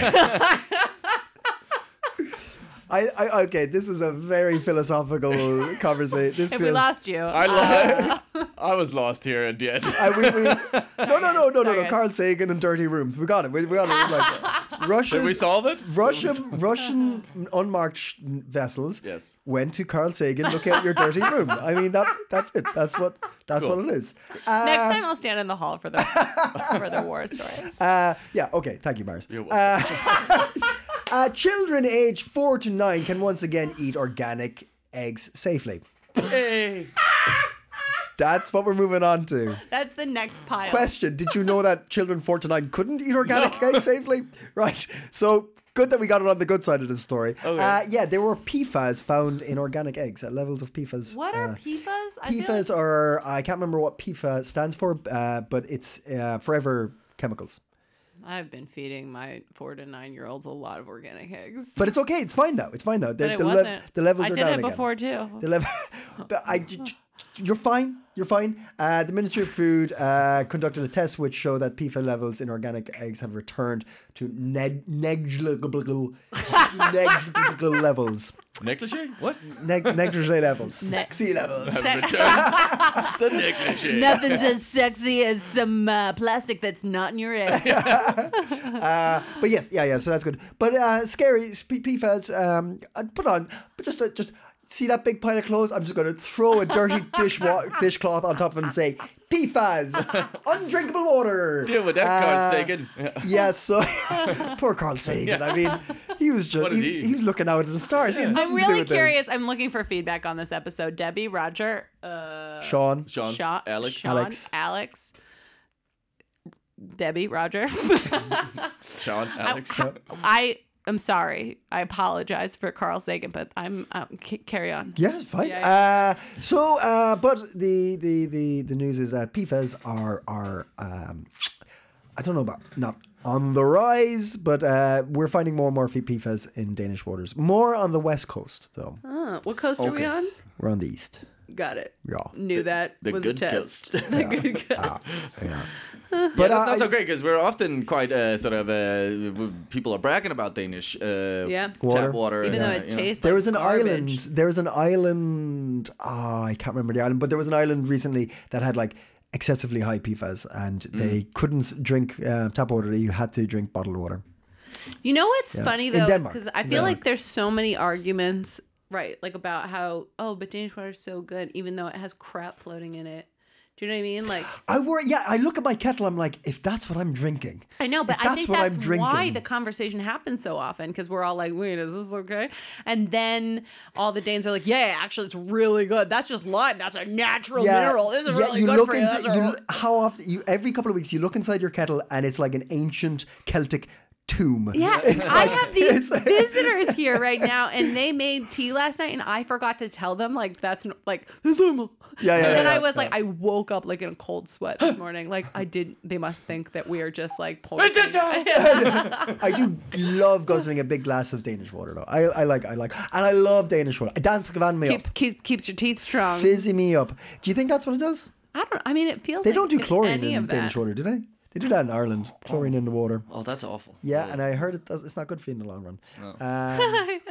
Speaker 1: I, I okay. This is a very philosophical conversation. This
Speaker 3: if we
Speaker 1: feels-
Speaker 3: lost you,
Speaker 1: Uh,
Speaker 2: I,
Speaker 3: Uh,
Speaker 2: lo- I was lost here at the end
Speaker 1: I, we, we, no, no, no, no, no, no.
Speaker 3: Sorry.
Speaker 1: Carl Sagan and Dirty Rooms. We got it. We, we got it. Like, Russia's,
Speaker 2: did we solve it
Speaker 1: Russian, Russian unmarked sh- vessels
Speaker 2: Yes.
Speaker 1: went to Carl Sagan, look at your dirty room. I mean, that that's it. That's what that's
Speaker 2: Cool.
Speaker 1: what it is. Uh,
Speaker 3: next time I'll stand in the hall for the for the war story.
Speaker 1: uh, yeah, okay. Thank you, Mars.
Speaker 2: You're welcome.
Speaker 1: Uh, children aged four to nine can once again eat organic eggs safely.
Speaker 2: Hey.
Speaker 1: That's what we're moving on to.
Speaker 3: That's the next pile.
Speaker 1: Question Did you know that children 4 to 9 couldn't eat organic eggs safely? Right. So good that we got it on the good side of the story.
Speaker 2: Okay.
Speaker 1: Uh, yeah, there were PFAS found in organic eggs at levels of PFAS.
Speaker 3: What
Speaker 1: uh,
Speaker 3: are PFAS? I feel like-
Speaker 1: PFAS are, I can't remember what PFAS stands for, uh, but it's uh, forever chemicals.
Speaker 3: I've been feeding my four to nine year olds a lot of organic eggs.
Speaker 1: But it's okay. It's fine now. It's fine now. The,
Speaker 3: But it
Speaker 1: the, le-
Speaker 3: wasn't.
Speaker 1: the levels
Speaker 3: I
Speaker 1: are
Speaker 3: did
Speaker 1: down
Speaker 3: it
Speaker 1: again.
Speaker 3: before too.
Speaker 1: The level, but I, j- j- you're fine. You're fine. Uh, the Ministry of Food uh, conducted a test which showed that PFAS levels in organic eggs have returned to neg- negligible, negligible levels.
Speaker 2: negligee what
Speaker 1: Neg- negligible levels. Sexy levels.
Speaker 2: the negligee
Speaker 3: Nothing's as sexy as some uh, plastic that's not in your egg.
Speaker 1: But yes, yeah, yeah. So that's good. But uh, scary s- P- PFAS. Um, I'd put on, but just, uh, just see that big pile of clothes? I'm just going to throw a dirty dish wa- dishcloth on top of it and say, PFAS, undrinkable water. Uh,
Speaker 2: Deal with that, Carl Sagan. Uh, Yeah.
Speaker 1: Yeah, so poor Carl Sagan. I mean, he was just,
Speaker 2: What did
Speaker 1: he,
Speaker 2: he-
Speaker 1: he was looking out at the stars. He had
Speaker 3: I'm
Speaker 1: nothing to do
Speaker 3: really
Speaker 1: with this.
Speaker 3: curious. I'm looking for feedback on this episode. Debbie, Roger, uh,
Speaker 1: Sean,
Speaker 2: Sean,
Speaker 3: Sean,
Speaker 2: Alex,
Speaker 3: Sean,
Speaker 1: Alex.
Speaker 3: Alex, Debbie, Roger.
Speaker 2: Sean, Alex.
Speaker 3: I am sorry. I apologize for Carl Sagan, but I'm um, c- carry on.
Speaker 1: Yeah, fine.
Speaker 3: Yeah,
Speaker 1: Uh, so, uh, but the, the the the news is that PFAS are are um, I don't know about not on the rise, but uh, we're finding more and more PFAS in Danish waters. More on the west coast, though.
Speaker 3: Huh, what coast are we
Speaker 2: Okay.
Speaker 3: on?
Speaker 1: We're on the east.
Speaker 3: Got it.
Speaker 1: Yeah. Ah,
Speaker 3: Knew that
Speaker 2: the
Speaker 3: was
Speaker 2: good
Speaker 3: a test.
Speaker 2: coast.
Speaker 3: the good coast.
Speaker 1: Yeah.
Speaker 2: But
Speaker 1: But
Speaker 2: yeah, that's
Speaker 1: uh,
Speaker 2: not so
Speaker 1: I-
Speaker 2: great because we're often quite uh, sort of uh, w- people are bragging about Danish uh,
Speaker 3: Yeah.
Speaker 1: Water.
Speaker 2: tap water.
Speaker 3: Even
Speaker 2: and, uh,
Speaker 3: though it
Speaker 2: you know.
Speaker 3: tastes
Speaker 1: There
Speaker 3: like
Speaker 1: was an
Speaker 3: garbage.
Speaker 1: island. There was an island. Oh, I can't remember the island, but there was an island recently that had like excessively high PFAS, and
Speaker 3: Mm.
Speaker 1: they couldn't drink uh, tap water. You had to drink bottled water.
Speaker 3: You know what's
Speaker 1: Yeah.
Speaker 3: funny
Speaker 1: In
Speaker 3: though,
Speaker 1: Denmark.
Speaker 3: because I
Speaker 1: In
Speaker 3: feel
Speaker 1: Denmark.
Speaker 3: like there's so many arguments, right? Like about how oh, but Danish water is so good, even though it has crap floating in it. Do you know what I mean? Like
Speaker 1: I worry. Yeah, I look at my kettle. I'm like, if that's what I'm drinking,
Speaker 3: I know, but
Speaker 1: If
Speaker 3: I
Speaker 1: that's
Speaker 3: think
Speaker 1: what I'm
Speaker 3: that's why
Speaker 1: drinking.
Speaker 3: the conversation happens so often because we're all like, "Wait, is this okay?" And then all the Danes are like, "Yeah, actually, it's really good. That's just lime. That's a natural mineral. This is
Speaker 1: yeah,
Speaker 3: really
Speaker 1: you
Speaker 3: good
Speaker 1: look
Speaker 3: for you.
Speaker 1: into
Speaker 3: That's
Speaker 1: you,
Speaker 3: a-
Speaker 1: l- how often you every couple of weeks you look inside your kettle and it's like an ancient Celtic tomb.
Speaker 3: Yeah,
Speaker 1: It's
Speaker 3: I
Speaker 1: like-
Speaker 3: have these
Speaker 1: it's like-
Speaker 3: visitors here right now, and they made tea last night, and I forgot to tell them like that's n- like this is normal.
Speaker 1: Yeah, yeah,
Speaker 3: And then
Speaker 1: yeah,
Speaker 3: I was
Speaker 1: yeah.
Speaker 3: like, I woke up like in a cold sweat this morning. Like I did. They must think that we are just like pouring.
Speaker 2: It's a joke!
Speaker 1: I do love guzzling a big glass of Danish water though. I, I like I like and I love Danish water. Dansk van me
Speaker 3: keeps keeps keeps your teeth
Speaker 1: up,
Speaker 3: strong.
Speaker 1: fizzy me up. Do you think that's what it does?
Speaker 3: I don't. I mean, it feels
Speaker 1: They
Speaker 3: like
Speaker 1: don't do
Speaker 3: it's
Speaker 1: chlorine
Speaker 3: any
Speaker 1: in
Speaker 3: of that.
Speaker 1: Danish water, do they? They do that in Ireland. Chlorine in the water.
Speaker 2: Oh, that's awful.
Speaker 1: Yeah, and I heard it does, it's not good for you in the long run. Um,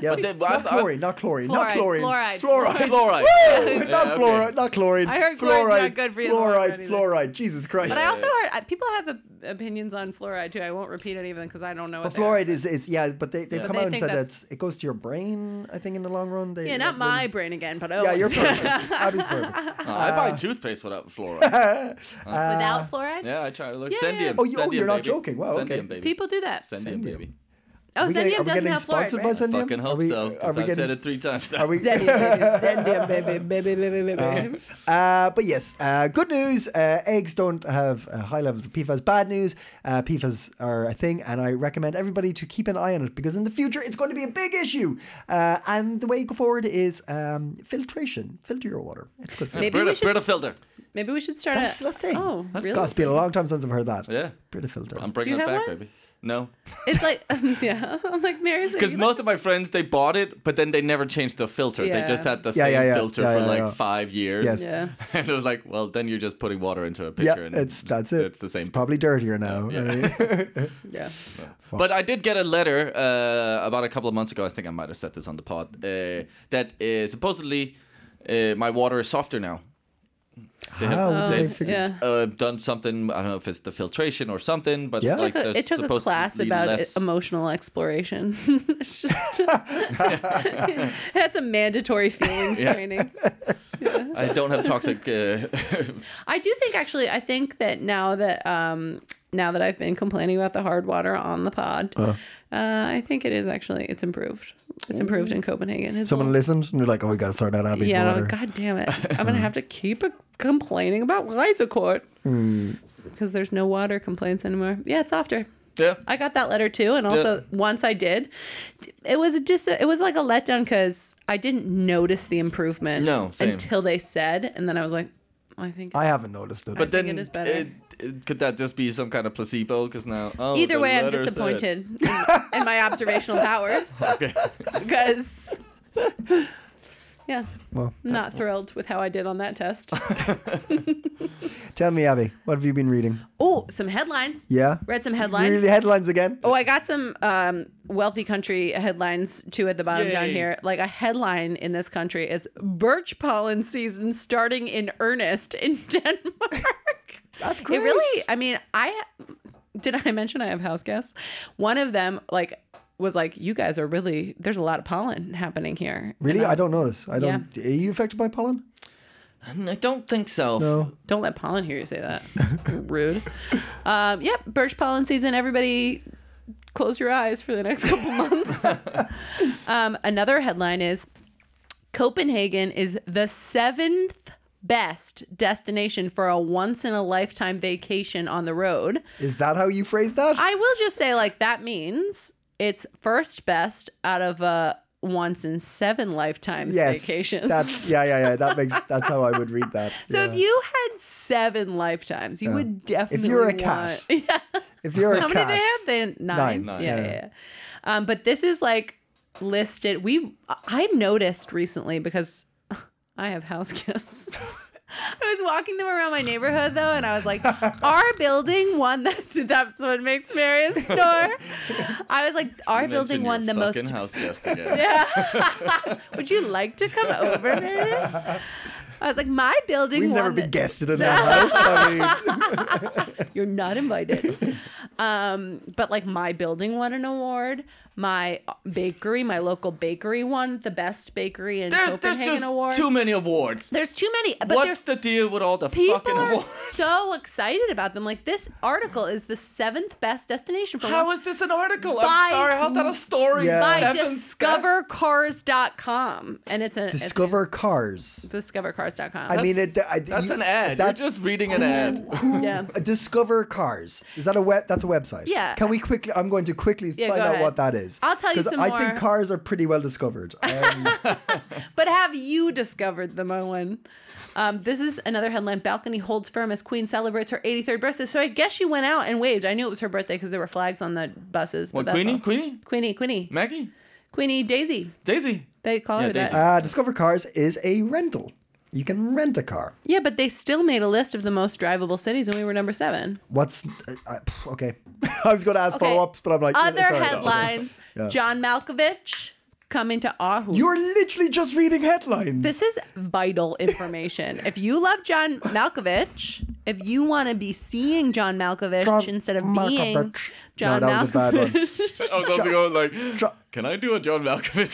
Speaker 1: yeah,
Speaker 2: then- well,
Speaker 1: not
Speaker 2: I've- I've-
Speaker 1: chlorine, not chlorine, not
Speaker 3: Fluoride,
Speaker 1: chlorine,
Speaker 3: fluoride.
Speaker 1: fluoride.
Speaker 2: Fluoride.
Speaker 1: Woo! not
Speaker 2: okay.
Speaker 1: fluoride, not chlorine.
Speaker 3: I heard
Speaker 1: fluoride,
Speaker 3: chlorine's not good for you in the long run
Speaker 1: Fluoride,
Speaker 3: either.
Speaker 1: fluoride. Jesus Christ.
Speaker 3: But I also heard I- people have op- opinions on fluoride too. I won't repeat any of them because I don't know.
Speaker 1: but
Speaker 3: What they are.
Speaker 1: fluoride is, is yeah, but they, they've
Speaker 3: But
Speaker 1: come
Speaker 3: they
Speaker 1: out and
Speaker 3: think
Speaker 1: said
Speaker 3: that's-
Speaker 1: that's it goes to your brain. I think in the long run, they
Speaker 3: Yeah, not
Speaker 1: that
Speaker 3: my brain again, but oh,
Speaker 1: wouldn't- Yeah, you're perfect. Abby's perfect.
Speaker 2: Uh, I buy toothpaste without fluoride.
Speaker 3: without fluoride.
Speaker 2: yeah, I try to look.
Speaker 3: Yeah,
Speaker 2: Sendium.
Speaker 3: yeah.
Speaker 1: Oh, you- oh,
Speaker 2: Sendium,
Speaker 1: you're not
Speaker 2: baby.
Speaker 1: joking. Wow,
Speaker 2: Sendium,
Speaker 1: okay.
Speaker 2: baby.
Speaker 3: People do that.
Speaker 2: Sendium,
Speaker 1: Sendium.
Speaker 2: baby.
Speaker 3: Oh,
Speaker 1: Are we getting,
Speaker 3: Zendium
Speaker 1: are we
Speaker 3: doesn't
Speaker 1: getting
Speaker 3: have fluoride,
Speaker 1: sponsored
Speaker 3: right?
Speaker 1: by Zendium?
Speaker 2: Fucking
Speaker 1: are
Speaker 2: hope
Speaker 1: we,
Speaker 2: so.
Speaker 1: Are
Speaker 2: Because
Speaker 1: we
Speaker 2: I've
Speaker 1: getting?
Speaker 2: said it three times now.
Speaker 1: are we?
Speaker 3: Zendium, baby, Zendium, baby, baby, baby, baby.
Speaker 1: Uh, but yes, uh, good news. Uh, eggs don't have uh, high levels of PFAS. Bad news, uh, PFAS are a thing, and I recommend everybody to keep an eye on it because in the future it's going to be a big issue. Uh, and the way you go forward is um, filtration. Filter your water. It's good for you.
Speaker 3: Maybe we
Speaker 2: Brita,
Speaker 3: should
Speaker 2: Brita
Speaker 3: s-
Speaker 2: filter.
Speaker 3: Maybe we should start.
Speaker 1: That's
Speaker 3: a,
Speaker 1: the thing.
Speaker 3: Oh,
Speaker 1: That's
Speaker 3: really?
Speaker 1: God, it's been a long time since I've heard that.
Speaker 2: Yeah.
Speaker 1: Brita filter.
Speaker 2: I'm
Speaker 3: you
Speaker 2: bringing it
Speaker 3: have
Speaker 2: back,
Speaker 3: one?
Speaker 2: baby. No.
Speaker 3: It's like, yeah. I'm like, Mary's like,
Speaker 2: Because most of my friends they bought it, but then they never changed the filter.
Speaker 3: Yeah.
Speaker 2: They just had the
Speaker 1: Yeah,
Speaker 2: same
Speaker 1: yeah, yeah.
Speaker 2: filter
Speaker 1: Yeah,
Speaker 2: for
Speaker 1: yeah,
Speaker 2: like
Speaker 1: yeah.
Speaker 2: five years.
Speaker 1: Yes.
Speaker 3: Yeah.
Speaker 2: and it was like, well, then you're just putting water into a
Speaker 1: yeah,
Speaker 2: pitcher. and
Speaker 1: it's that's it.
Speaker 2: It's the same.
Speaker 1: It's probably dirtier now. I mean,
Speaker 3: yeah.
Speaker 2: But I did get a letter uh, about a couple of months ago. I think I might have said this on the pod. Uh, that uh, supposedly uh, my water is softer now. They
Speaker 1: How would they
Speaker 2: they've,
Speaker 1: figure-
Speaker 3: um, Yeah.
Speaker 2: uh, done something. I don't know if it's the filtration or something, but
Speaker 1: Yeah.
Speaker 2: it's
Speaker 1: It
Speaker 2: like
Speaker 3: Took a-
Speaker 2: there's
Speaker 3: it took a
Speaker 2: supposed
Speaker 3: class
Speaker 2: to be
Speaker 3: about
Speaker 2: less.
Speaker 3: e- emotional exploration. it's just that's a mandatory feelings
Speaker 2: Yeah.
Speaker 3: training.
Speaker 2: I don't have toxic. Uh,
Speaker 3: I do think actually, I think that now that um now that I've been complaining about the hard water on the pod,
Speaker 1: Uh-huh.
Speaker 3: uh I think it is actually it's improved. It's improved in Copenhagen. It's a
Speaker 1: Someone listened and they're like, "Oh, we got to sort out Abby's
Speaker 3: Yeah,
Speaker 1: water."
Speaker 3: no, god damn it. I'm gonna have to keep a- complaining about Lysocourt.
Speaker 2: Mm.
Speaker 3: Because there's no water complaints anymore. Yeah, it's softer.
Speaker 2: yeah.
Speaker 3: I got that letter too, and also
Speaker 2: Yeah.
Speaker 3: once I did, it was a dis- it was like a letdown because I didn't notice the improvement
Speaker 2: No, same.
Speaker 3: until they said, and then I was like, I think
Speaker 1: I haven't noticed it.
Speaker 2: But
Speaker 3: think
Speaker 2: then
Speaker 3: it is better.
Speaker 2: it- it- could that just be some kind of placebo? Because now, oh,
Speaker 3: Either
Speaker 2: the
Speaker 3: way, I'm
Speaker 2: letter said-
Speaker 3: disappointed in, in my observational powers
Speaker 2: Okay.
Speaker 3: because, yeah,
Speaker 1: well,
Speaker 3: not thrilled with how I did on that test.
Speaker 1: tell me, Abby, what have you been reading?
Speaker 3: Oh, some headlines.
Speaker 1: Yeah,
Speaker 3: Read some
Speaker 1: Read
Speaker 3: headlines.
Speaker 1: the headlines again.
Speaker 3: Oh, I got some um, wealthy country headlines too at the bottom down
Speaker 2: Yay.
Speaker 3: here. Like a headline in this country is birch pollen season starting in earnest in Denmark.
Speaker 1: That's
Speaker 3: It really, I mean, I did I mention I have house guests? One of them, like, was like, "You guys are really there's a lot of pollen happening here." And
Speaker 1: Really?
Speaker 3: I'm-
Speaker 1: I don't notice. I don't. Are you affected by pollen?
Speaker 2: I don't think so.
Speaker 1: No.
Speaker 3: Don't let pollen hear you say that. It's rude. Um, yep, birch pollen season. Everybody, close your eyes for the next couple months. um, another headline is Copenhagen is the seventh best destination for a once in a lifetime vacation on the road.
Speaker 1: Is that how you phrase that?
Speaker 3: I will just say, like, that means it's first best out of a once in seven lifetimes vacation.
Speaker 1: That's yeah, yeah, yeah. That makes that's how I would read that.
Speaker 3: So
Speaker 1: yeah.
Speaker 3: if you had seven lifetimes, you would definitely.
Speaker 1: you're a
Speaker 3: want...
Speaker 1: cat,
Speaker 3: yeah.
Speaker 1: if you're a
Speaker 3: How many
Speaker 1: cat,
Speaker 3: they have? They nine.
Speaker 1: Nine.
Speaker 2: Nine,
Speaker 3: Yeah,
Speaker 1: yeah.
Speaker 3: yeah. yeah. Um, but this is like listed. We I noticed recently because I have house guests. I was walking them around my neighborhood though, and I was like, "Our building won that. That's what makes Marius store." I was like, "Our
Speaker 2: Mention
Speaker 3: building
Speaker 2: your
Speaker 3: won the most."
Speaker 2: fucking house guest again.
Speaker 3: Yeah. Would you like to come over, Marius? I was like, "My building
Speaker 1: we've
Speaker 3: won."
Speaker 1: never been
Speaker 3: the-
Speaker 1: guested in that house. I mean,
Speaker 3: you're not invited. um, but like my building won an award. My bakery, my local bakery won the best bakery in
Speaker 2: There's, there's
Speaker 3: Copenhagen
Speaker 2: just
Speaker 3: award.
Speaker 2: too many awards.
Speaker 3: there's too many, but
Speaker 2: What's
Speaker 3: there's
Speaker 2: the deal with all the
Speaker 3: people
Speaker 2: fucking
Speaker 3: are
Speaker 2: awards?
Speaker 3: so excited about them. Like this article is the seventh best destination for
Speaker 2: How
Speaker 3: once-
Speaker 2: is this an article?
Speaker 3: By-
Speaker 2: I'm sorry, how's that a story?
Speaker 1: Yeah. by
Speaker 3: by
Speaker 2: Seventh guest?
Speaker 3: discovercars.com and it's a it's-
Speaker 1: discover cars.
Speaker 3: discovercars.com.
Speaker 1: I mean, it. I,
Speaker 2: That's
Speaker 1: you-
Speaker 2: an ad.
Speaker 1: that-
Speaker 2: You're just reading an ad.
Speaker 3: yeah.
Speaker 1: Discover cars. Is that a web? That's a website.
Speaker 3: Yeah.
Speaker 1: Can we quickly? I'm going to quickly
Speaker 3: Yeah,
Speaker 1: find
Speaker 3: go
Speaker 1: out
Speaker 3: ahead.
Speaker 1: what that is.
Speaker 3: I'll tell you
Speaker 1: 'Cause
Speaker 3: some
Speaker 1: I
Speaker 3: more.
Speaker 1: think cars are pretty well discovered. Um,
Speaker 3: But have you discovered them, Owen? Um, this is another headline. Balcony holds firm as Queen celebrates her 83rd birthday. So I guess she went out and waved. I knew it was her birthday because there were flags on the buses. but
Speaker 2: What,
Speaker 3: that's
Speaker 2: Queenie?
Speaker 3: all.
Speaker 2: Queenie?
Speaker 3: Queenie, Queenie,
Speaker 2: Maggie?
Speaker 3: Queenie Daisy.
Speaker 2: Daisy?
Speaker 3: They call
Speaker 2: Yeah,
Speaker 3: her
Speaker 2: Daisy.
Speaker 3: that.
Speaker 1: uh, discover cars is a rental. You can rent a car.
Speaker 3: yeah, but they still made a list of the most drivable cities, and we were number seven.
Speaker 1: What's uh, uh, pff, okay? I was going to ask
Speaker 3: Okay.
Speaker 1: follow ups, but I'm like, eh, yeah,
Speaker 3: Other
Speaker 1: sorry, that's okay.
Speaker 3: headlines:
Speaker 1: Yeah.
Speaker 3: John Malkovich coming to Aarhus.
Speaker 1: You're literally just reading headlines.
Speaker 3: This is vital information. if you love John Malkovich, if you want to be seeing John Malkovich
Speaker 1: John
Speaker 3: instead of being
Speaker 1: Malkovich.
Speaker 3: John
Speaker 1: No, that was a bad one.
Speaker 3: Malkovich,
Speaker 2: I was about to go Oh, like,
Speaker 1: John-
Speaker 2: can I do a John Malkovich?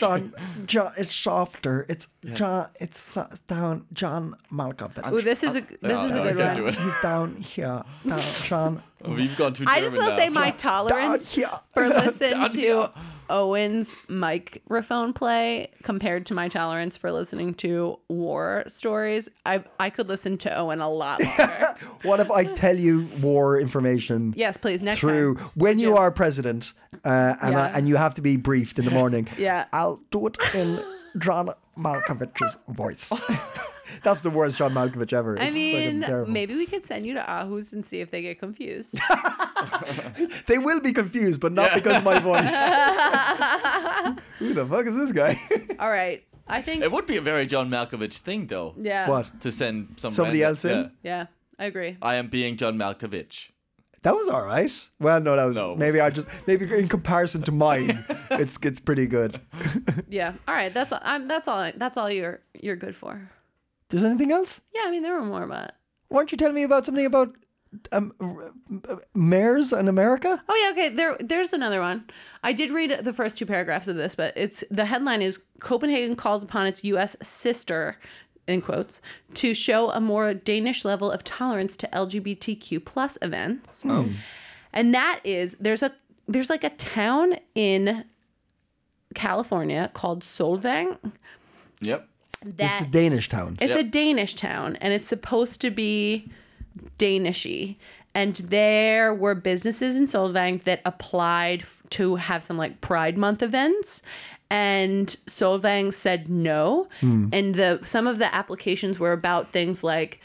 Speaker 1: John, John, it's softer. It's John. It's s- down. John Malkovich.
Speaker 3: Ooh, this is a this
Speaker 2: No,
Speaker 3: is a
Speaker 2: no,
Speaker 3: good
Speaker 2: I can't
Speaker 3: one.
Speaker 2: do it.
Speaker 1: He's down here. Down, John.
Speaker 2: We've Oh, gone too
Speaker 3: I just
Speaker 2: German
Speaker 3: will say
Speaker 2: now.
Speaker 3: my tolerance
Speaker 1: here.
Speaker 3: for listen
Speaker 2: Down
Speaker 3: to
Speaker 2: here.
Speaker 3: Owen's microphone play compared to my tolerance for listening to war stories. I I could listen to Owen a lot longer.
Speaker 1: What if I tell you war information?
Speaker 3: yes, please. Next
Speaker 1: Through
Speaker 3: time.
Speaker 1: when you are president, uh, and I,
Speaker 3: Yeah.
Speaker 1: and you have to be briefed in the morning.
Speaker 3: Yeah.
Speaker 1: I'll do it in John Malkovich's voice. That's the worst John Malkovich ever.
Speaker 3: I
Speaker 1: It's fucking
Speaker 3: mean,
Speaker 1: terrible.
Speaker 3: maybe we could send you to Aarhus and see if they get confused.
Speaker 1: They will be confused, but not because of my voice. Who the fuck is this guy?
Speaker 3: All right. I think.
Speaker 2: It would be a very John Malkovich thing, though.
Speaker 3: Yeah.
Speaker 1: what?
Speaker 2: To send some
Speaker 1: Somebody
Speaker 2: random-
Speaker 1: else in?
Speaker 2: Yeah.
Speaker 3: Yeah, I agree.
Speaker 2: I am being John Malkovich.
Speaker 1: That was all right. Well, no, that was
Speaker 2: No.
Speaker 1: maybe I just maybe in comparison to mine, it's it's pretty good.
Speaker 3: Yeah. All right. That's all. I'm, that's all. I- That's all you're you're good for.
Speaker 1: There's anything else?
Speaker 3: Yeah. I mean, there were more, but
Speaker 1: Weren't you telling me about something about um, r- uh, mayors in America?
Speaker 3: Oh yeah, okay. There, there's another one. I did read the first two paragraphs of this, but it's the headline is Copenhagen calls upon its U.S. sister, in quotes, to show a more Danish level of tolerance to LGBTQ plus events, and that is there's a there's like a town in California called Solvang
Speaker 2: Yep.
Speaker 1: It's the Danish town.
Speaker 3: it's
Speaker 2: Yep.
Speaker 3: a Danish town, and it's supposed to be Danishy. And there were businesses in Solvang that applied f- to have some like Pride Month events, and Solvang said no.
Speaker 1: Hmm.
Speaker 3: And the some of the applications were about things like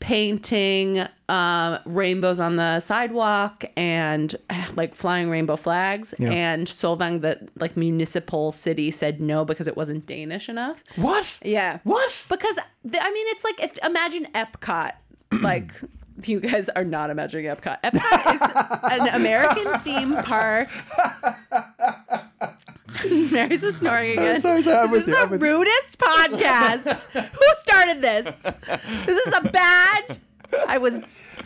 Speaker 3: painting um, rainbows on the sidewalk and eh, like flying rainbow flags.
Speaker 1: Yeah.
Speaker 3: And Solvang, the like municipal city, said no because it wasn't Danish enough.
Speaker 1: What?
Speaker 3: Yeah.
Speaker 1: What?
Speaker 3: Because th- I mean, it's like if imagine Epcot, like. You guys are not imagining Epcot. Epcot is an American theme park. Mary's is snoring again.
Speaker 1: sorry, sorry, I'm
Speaker 3: this
Speaker 1: with
Speaker 3: is
Speaker 1: you, I'm
Speaker 3: the
Speaker 1: with you.
Speaker 3: rudest podcast. Who started this? This is a bad. I was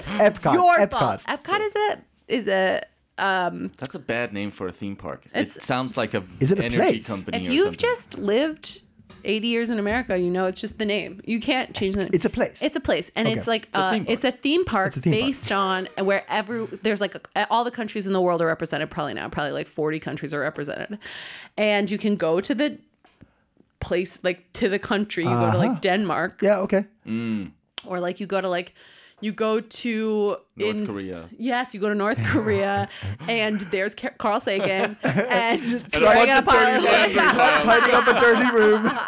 Speaker 1: Epcot.
Speaker 3: your
Speaker 1: Uh, Epcot.
Speaker 3: fault. Epcot is a is a um,
Speaker 2: That's a bad name for a theme park. it
Speaker 3: It's-
Speaker 2: sounds like a
Speaker 1: Is it a
Speaker 2: energy
Speaker 1: place?
Speaker 2: company.
Speaker 3: if
Speaker 2: or
Speaker 3: you've
Speaker 2: something.
Speaker 3: just lived 80 years in America, you know it's just the name. You can't change the name.
Speaker 1: It's a place.
Speaker 3: It's a place, and
Speaker 1: Okay.
Speaker 3: it's like
Speaker 2: It's a
Speaker 3: uh,
Speaker 2: theme park.
Speaker 3: it's a theme park
Speaker 1: a theme park.
Speaker 3: based on where every there's like a, all the countries in the world are represented. Probably now, probably like forty countries are represented, and you can go to the place like to the country. You go to like Denmark,
Speaker 1: Yeah, okay.
Speaker 3: or like you go to like you go to
Speaker 2: North
Speaker 3: in-
Speaker 2: Korea.
Speaker 3: Yes, you go to North Korea, and there's Ca- Carl Sagan, and
Speaker 1: Bunch
Speaker 3: tearing
Speaker 1: of
Speaker 3: up our
Speaker 1: dirty laundry, tidying up a dirty room.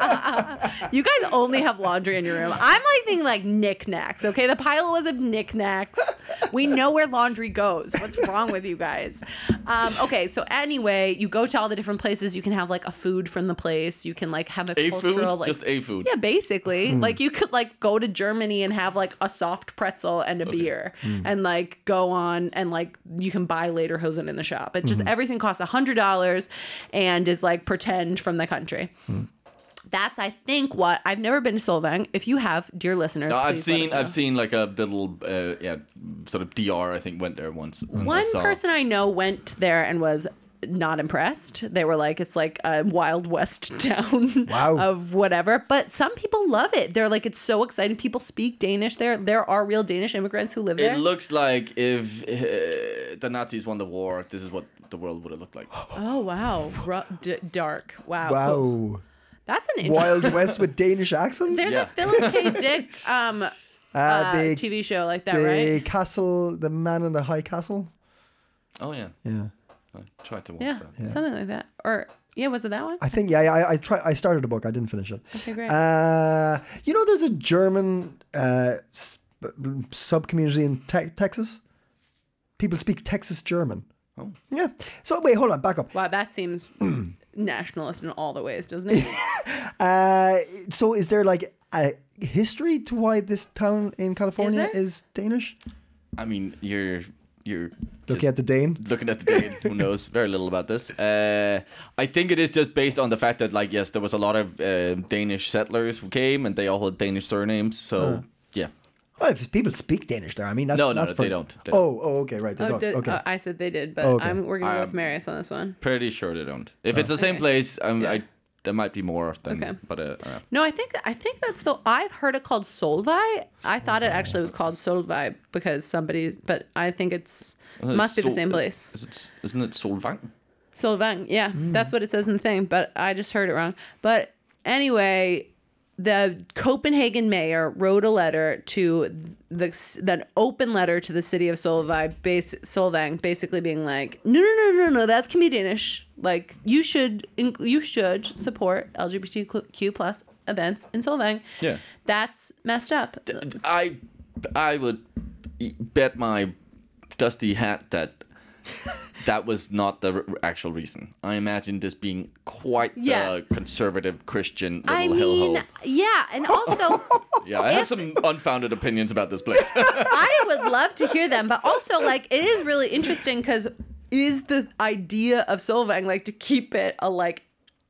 Speaker 3: You guys only have laundry in your room. I'm like thinking like knickknacks. Okay, the pilot was of knickknacks. We know where laundry goes. What's wrong with you guys? Um, okay, so anyway, you go to all the different places. You can have like a food from the place. You can like have a,
Speaker 2: A food,
Speaker 3: cultural like
Speaker 2: just a food.
Speaker 3: yeah, basically. Like you could like go to Germany and have like a soft pretzel and a beer and like go on and like you can buy later hosen in the shop. It just everything costs a hundred dollars and is like pretend from the country. That's I think what I've never been to Solvang. If you have, dear listeners,
Speaker 2: No, I've
Speaker 3: please let us
Speaker 2: seen
Speaker 3: know.
Speaker 2: I've seen like a little uh, yeah sort of DR I think went there once. and I
Speaker 3: One
Speaker 2: saw-
Speaker 3: person I know went there and was not impressed. They were like, it's like a Wild West town
Speaker 1: Wow.
Speaker 3: of whatever. But some people love it. They're like, it's so exciting. People speak Danish there. There are real Danish immigrants who live there.
Speaker 2: It looks like if uh, the Nazis won the war, this is what the world would have looked like.
Speaker 3: oh, wow. Ru- d- dark. Wow. Cool.
Speaker 1: Wow.
Speaker 3: That's an interesting.
Speaker 1: Wild West with Danish accents?
Speaker 3: There's
Speaker 2: Yeah.
Speaker 3: a Philip K. Dick um, uh,
Speaker 1: Ah, the,
Speaker 3: TV show like that,
Speaker 1: the
Speaker 3: right?
Speaker 1: castle, the man in the high castle.
Speaker 2: Oh yeah,
Speaker 1: Yeah.
Speaker 2: I tried to watch
Speaker 3: Yeah,
Speaker 2: that.
Speaker 3: something like that. Or, yeah, was it that one?
Speaker 1: I think yeah, yeah I, I try. I started a book. I didn't finish it.
Speaker 3: Okay, great.
Speaker 1: Uh, you know, there's a German uh, sub community in te- Texas. People speak Texas German.
Speaker 2: Oh.
Speaker 1: Yeah. So wait, hold on, back up.
Speaker 3: wow, that seems nationalist in all the ways, doesn't it?
Speaker 1: Uh, so is there like a history to why this town in California
Speaker 3: there?
Speaker 1: is Danish?
Speaker 2: I mean, you're you're
Speaker 1: Look
Speaker 2: just-
Speaker 1: at the Dane.
Speaker 2: looking at the date, who knows very little about this. Uh, I think it is just based on the fact that, like, yes, there was a lot of uh, Danish settlers who came, and they all had Danish surnames. So yeah,
Speaker 1: Well, if people speak Danish there, I mean, that's,
Speaker 2: No, no,
Speaker 1: that's
Speaker 2: no, they
Speaker 1: for-
Speaker 2: don't. They
Speaker 1: oh, oh, okay, right, they
Speaker 3: Oh,
Speaker 1: don't.
Speaker 3: did,
Speaker 1: okay.
Speaker 3: uh, I said they did, but
Speaker 1: Oh, okay.
Speaker 3: I'm, we're going to go with
Speaker 2: Um,
Speaker 3: Marius on this one.
Speaker 2: pretty sure they don't. If it's the same
Speaker 3: Okay.
Speaker 2: place, um,
Speaker 3: Yeah.
Speaker 2: I there might be more than,
Speaker 3: Okay.
Speaker 2: but uh, uh,
Speaker 3: No, I think I think that's the I've heard it called Solvay. I thought it actually was called Solvay because somebody's, but I think it's must be the
Speaker 2: Sol-
Speaker 3: same place.
Speaker 2: Is it, isn't it Solvang?
Speaker 3: Solvang, yeah, that's what it says in the thing, but I just heard it wrong. But anyway, the Copenhagen mayor wrote a letter to the an open letter to the city of Solvay, base Solvang, basically being like, no, no, no, no, no, that can be Danish. Like you should in- you should support LGBTQ plus events in Solvang.
Speaker 2: Yeah.
Speaker 3: that's messed up.
Speaker 2: I I would bet my dusty hat that that was not the r- actual reason. I imagine this being quite
Speaker 3: Yeah.
Speaker 2: the conservative Christian little
Speaker 3: I
Speaker 2: hellhole.
Speaker 3: mean, yeah, and also
Speaker 2: Yeah, I have some unfounded opinions about this place.
Speaker 3: I would love to hear them, but also like it is really interesting because is the idea of Solvang like to keep it a like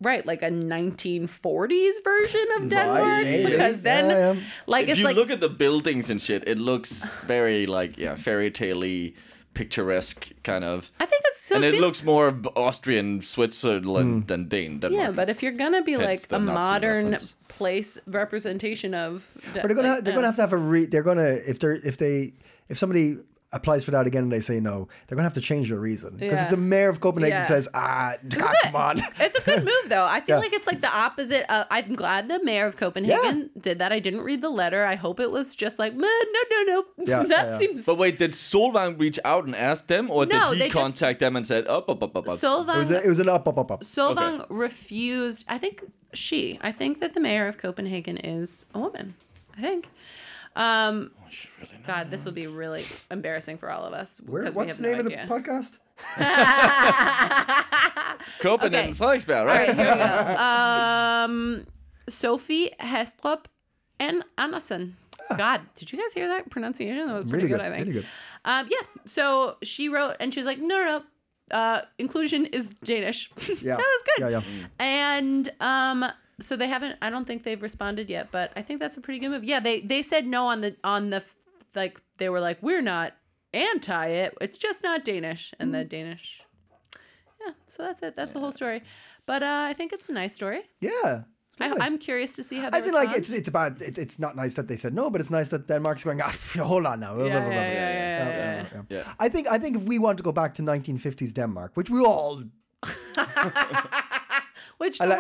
Speaker 3: right like a 1940s version of Denmark
Speaker 2: maybe.
Speaker 3: because then
Speaker 1: Yeah, yeah.
Speaker 3: like
Speaker 2: if
Speaker 3: it's
Speaker 2: you
Speaker 3: like
Speaker 2: look at the buildings and shit, it looks very like yeah, fairy tale picturesque kind of.
Speaker 3: I think it's so
Speaker 2: and it
Speaker 3: seems-
Speaker 2: looks more b- Austrian, Switzerland than Dane. Denmark.
Speaker 3: yeah, but if you're gonna be like
Speaker 2: Hence the
Speaker 3: a
Speaker 2: Nazi
Speaker 3: modern
Speaker 2: reference.
Speaker 3: place representation of,
Speaker 1: But they're gonna they're gonna have to have a re. They're gonna if they're if they if somebody applies for that again and they say no, they're gonna have to change their reason because if
Speaker 3: Yeah.
Speaker 1: the mayor of Copenhagen
Speaker 3: Yeah.
Speaker 1: says ah God, come on,
Speaker 3: It's a good move, though. I feel
Speaker 1: Yeah.
Speaker 3: like it's like the opposite. Of, I'm glad the mayor of Copenhagen did that. I didn't read the letter. I hope it was just like, "Meh, no, no, no.
Speaker 1: Yeah, yeah,
Speaker 3: that
Speaker 1: yeah.
Speaker 3: seems.
Speaker 2: But wait, did Solvang reach out and ask them, or
Speaker 3: No,
Speaker 2: did
Speaker 3: they
Speaker 2: he
Speaker 3: just-
Speaker 2: contact them and said, "Up, up, up, up, up"?
Speaker 1: it was a,
Speaker 3: Solvang,
Speaker 1: it was an up up up up.
Speaker 3: Solvang refused. I think she. I think that the mayor of Copenhagen is a woman. I think. Um,
Speaker 2: I should really know.
Speaker 3: God, this will be really embarrassing for all of us
Speaker 1: Where,
Speaker 3: because we
Speaker 1: what's
Speaker 3: have
Speaker 1: the name
Speaker 3: no
Speaker 1: of the
Speaker 3: idea.
Speaker 1: podcast?
Speaker 2: Copenhagen,
Speaker 3: Okay.
Speaker 2: Frederiksberg,
Speaker 3: All
Speaker 2: right?
Speaker 3: right, here we go. Um, Sophie Hestrup and Anderson. God, did you guys hear that pronunciation? That was pretty
Speaker 1: Ah. Really
Speaker 3: good,
Speaker 1: good,
Speaker 3: I think.
Speaker 1: really good.
Speaker 3: Um, yeah. So she wrote, and she was like, "No, no, no. Uh, inclusion is Danish."
Speaker 1: Yeah.
Speaker 3: that was good.
Speaker 1: Yeah, yeah.
Speaker 3: And um, so they haven't. I don't think they've responded yet, but I think that's a pretty good move. Yeah, they they said no on the on the f- like they were like, "We're not and tie it. It's just not Danish, and
Speaker 1: Mm.
Speaker 3: the Danish. Yeah, so that's it. That's the whole story. But uh, I think it's a nice story.
Speaker 1: Yeah.
Speaker 3: I, I'm curious to see how. They
Speaker 1: I think like
Speaker 3: respond.
Speaker 1: it's it's about it's, it's not nice that they said no, but it's nice that Denmark's going. Ah, pff, hold on now.
Speaker 3: yeah, yeah, yeah, yeah,
Speaker 2: yeah.
Speaker 1: I think I think if we want to go back to 1950s Denmark, which we all,
Speaker 3: which the
Speaker 1: I let,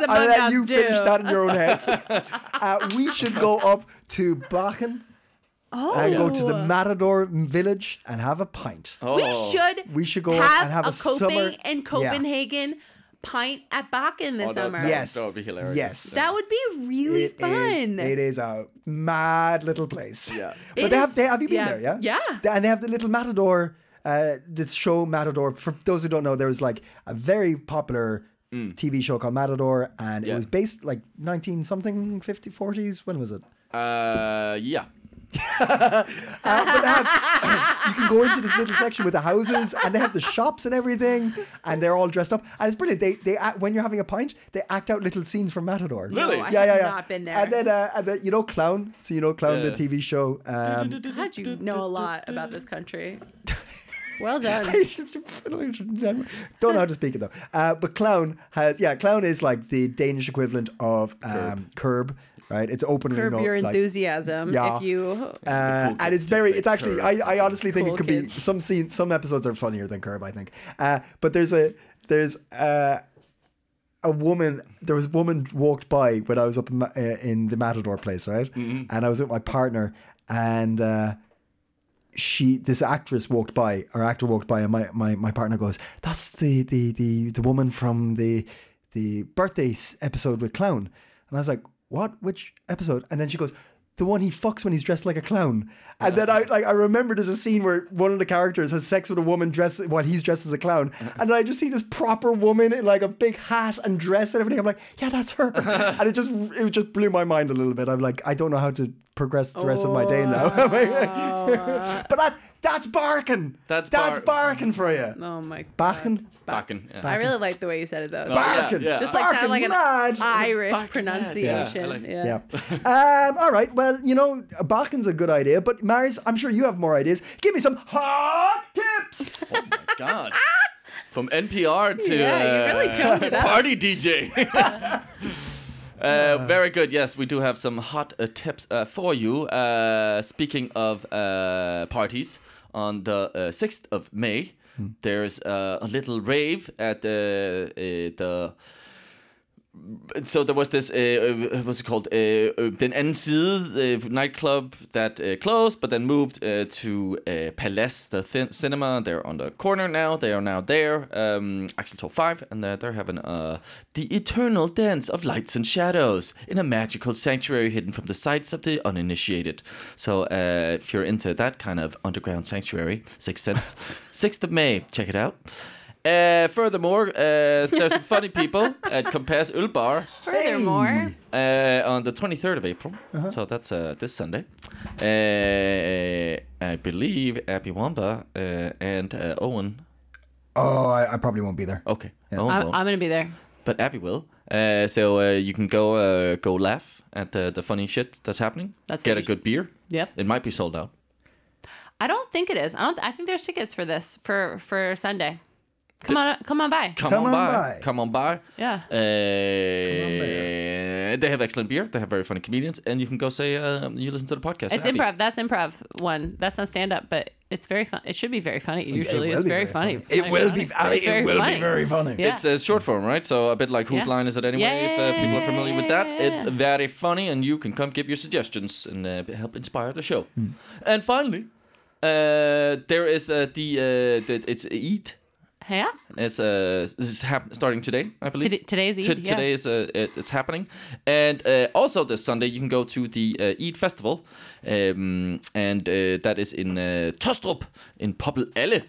Speaker 1: I let, I
Speaker 3: among
Speaker 1: let
Speaker 3: us
Speaker 1: you
Speaker 3: do.
Speaker 1: finish that in your own heads. uh, we should go up to Bakken
Speaker 3: oh,
Speaker 1: and go to the Matador village and have a pint.
Speaker 2: Oh.
Speaker 3: We should.
Speaker 1: We should go
Speaker 3: have,
Speaker 1: and have
Speaker 3: a,
Speaker 1: a
Speaker 3: coping
Speaker 1: summer-
Speaker 3: and
Speaker 1: Yeah.
Speaker 3: Copenhagen pint at Bakken this
Speaker 2: Oh, that-
Speaker 3: summer.
Speaker 2: that-
Speaker 1: Yes.
Speaker 2: That would be hilarious.
Speaker 1: Yes.
Speaker 3: that would be really
Speaker 1: It is.
Speaker 3: fun.
Speaker 1: it is a mad little place.
Speaker 2: Yeah.
Speaker 1: But
Speaker 3: It
Speaker 1: they
Speaker 3: is-
Speaker 1: have, they, have you been
Speaker 3: yeah.
Speaker 1: there? Yeah.
Speaker 3: Yeah.
Speaker 1: Th- And they have the little Matador, uh, this show Matador. For those who don't know, there was like a very popular
Speaker 3: Mm.
Speaker 1: TV show called Matador, and it
Speaker 2: Yeah.
Speaker 1: was based like 19 something, 50, 40s. When was it?
Speaker 2: Uh, yeah.
Speaker 1: Uh, but they have- you can go into this little section with the houses, and they have the shops and everything, and they're all dressed up, and it's brilliant. They they act, when you're having a pint, they act out little scenes from Matador.
Speaker 2: Really?
Speaker 3: No,
Speaker 2: Yeah,
Speaker 3: I
Speaker 1: yeah,
Speaker 3: have
Speaker 1: yeah, yeah.
Speaker 3: not been there.
Speaker 1: And then, uh, and then you know, Clown. So you know, Clown, the
Speaker 2: Yeah.
Speaker 1: TV show. Um,
Speaker 3: God, you know a lot about this country. Well done.
Speaker 1: don't know how to speak it though. Uh, but Clown has, yeah, Clown is like the Danish equivalent of um, curb. right? It's openly
Speaker 3: Curb
Speaker 1: not
Speaker 3: your
Speaker 1: like-
Speaker 3: enthusiasm
Speaker 1: Yeah.
Speaker 3: if you.
Speaker 1: Uh,
Speaker 2: Cool
Speaker 1: and
Speaker 2: kids
Speaker 1: it's
Speaker 2: just
Speaker 1: very
Speaker 2: say
Speaker 1: it's actually I,
Speaker 2: Curb.
Speaker 1: I honestly think
Speaker 3: Cool
Speaker 1: it could be
Speaker 3: kids.
Speaker 1: some scenes some episodes are funnier than curb i think uh, but there's a there's uh a woman there was a woman walked by when i was up in, Ma- uh, in the matador place right
Speaker 2: Mm-hmm.
Speaker 1: and i was with my partner and uh she this actress walked by or actor walked by and my, my, my partner goes that's the, the the the woman from the the birthday s- episode with clown and i was like what which episode and then she goes the one he fucks when he's dressed like a clown and then i like i remember there's a scene where one of the characters has sex with a woman dressed while he's dressed as a clown and then i just see this proper woman in like a big hat and dress and everything i'm like yeah that's her and it just it just blew my mind a little bit i'm like i don't know how to progress the rest of my day now but that that's barking.
Speaker 2: Oh. That's
Speaker 1: that's
Speaker 2: bar-
Speaker 1: barking for you.
Speaker 3: Oh my. God.
Speaker 1: Barking.
Speaker 2: Bakken. Yeah.
Speaker 3: I really like the way you said it though.
Speaker 2: Oh, yeah,
Speaker 1: Barking.
Speaker 2: yeah.
Speaker 3: Just like sound
Speaker 1: Barking
Speaker 3: like an
Speaker 1: mad.
Speaker 3: Irish
Speaker 2: Barking mad. Yeah, I
Speaker 3: pronunciation.
Speaker 2: like-
Speaker 3: yeah.
Speaker 1: Yeah. um, all right. Well, you know, barking's a good idea, but Maris, I'm sure you have more ideas. Give me some hot tips.
Speaker 2: Oh my god. From NPR to
Speaker 3: Yeah, you really
Speaker 2: uh,
Speaker 3: toned it up.
Speaker 2: party DJ. Uh, very good. Yes, we do have some hot uh, tips uh, for you. Uh, speaking of uh, parties, on the uh, sixth of May, there's uh, a little rave at the uh, the. So there was this, uh, uh, what's it called? Uh, uh, Den anden side uh, nightclub that uh, closed, but then moved uh, to uh, Palace, the thin- cinema. They're on the corner now. They are now there, um, actually till five, and they're, they're having uh, the eternal dance of lights and shadows in a magical sanctuary hidden from the sights of the uninitiated. So uh, if you're into that kind of underground sanctuary, Sixth Sense, sixth of May, check it out. Uh, furthermore, uh, there's some funny people at Compass Ulbar
Speaker 3: Furthermore,
Speaker 2: uh, on the 23rd of April. So that's uh, this Sunday. Uh, I believe Abby Wamba uh, and uh, Owen.
Speaker 1: Oh, I, I probably won't be there.
Speaker 2: Okay, Owen
Speaker 3: I'm,
Speaker 2: won't,
Speaker 3: I'm gonna be there.
Speaker 2: but Abby will. Uh, so uh, you can go uh, go laugh at eh, the, the funny shit that's happening.
Speaker 3: That's
Speaker 2: get
Speaker 3: what
Speaker 2: a
Speaker 3: you should-
Speaker 2: good beer.
Speaker 3: Yep.
Speaker 2: It might be sold out.
Speaker 3: I don't think it is. I don't. I think there's tickets for this for for Sunday. Come on, come on by.
Speaker 2: Come,
Speaker 1: Come
Speaker 2: on,
Speaker 1: on
Speaker 2: by.
Speaker 1: by.
Speaker 2: Come on by.
Speaker 3: Yeah.
Speaker 2: Uh, they have excellent beer. They have very funny comedians, and you can go say uh, you listen to the podcast. with
Speaker 3: It's
Speaker 2: Abby.
Speaker 3: improv. That's improv one. That's not stand up, but it's very fun. It should be very funny. It usually
Speaker 1: will
Speaker 3: is
Speaker 1: be
Speaker 3: very,
Speaker 1: very
Speaker 3: funny.
Speaker 1: funny. It will be- I mean,
Speaker 3: It's
Speaker 1: it will be very funny.
Speaker 3: Yeah.
Speaker 2: It's a short form, right? So a bit like whose
Speaker 3: Yeah.
Speaker 2: line is it anyway?
Speaker 3: Yeah,
Speaker 2: if
Speaker 3: yeah,
Speaker 2: uh, people are
Speaker 3: yeah,
Speaker 2: familiar with
Speaker 3: yeah,
Speaker 2: that,
Speaker 3: yeah,
Speaker 2: it's very funny, and you can come give your suggestions and uh, help inspire the show.
Speaker 1: Hmm.
Speaker 2: And finally, uh, there is uh, the uh, the it's Eid.
Speaker 3: yeah.
Speaker 2: It's uh, this is hap- starting today, I believe.
Speaker 3: Today- today's Eid,
Speaker 2: To-
Speaker 3: yeah.
Speaker 2: Today is uh, it, it's happening, and uh, also this Sunday you can go to the uh, Eid festival, um, and uh, that is in uh, Tostrup in Poppel Alle.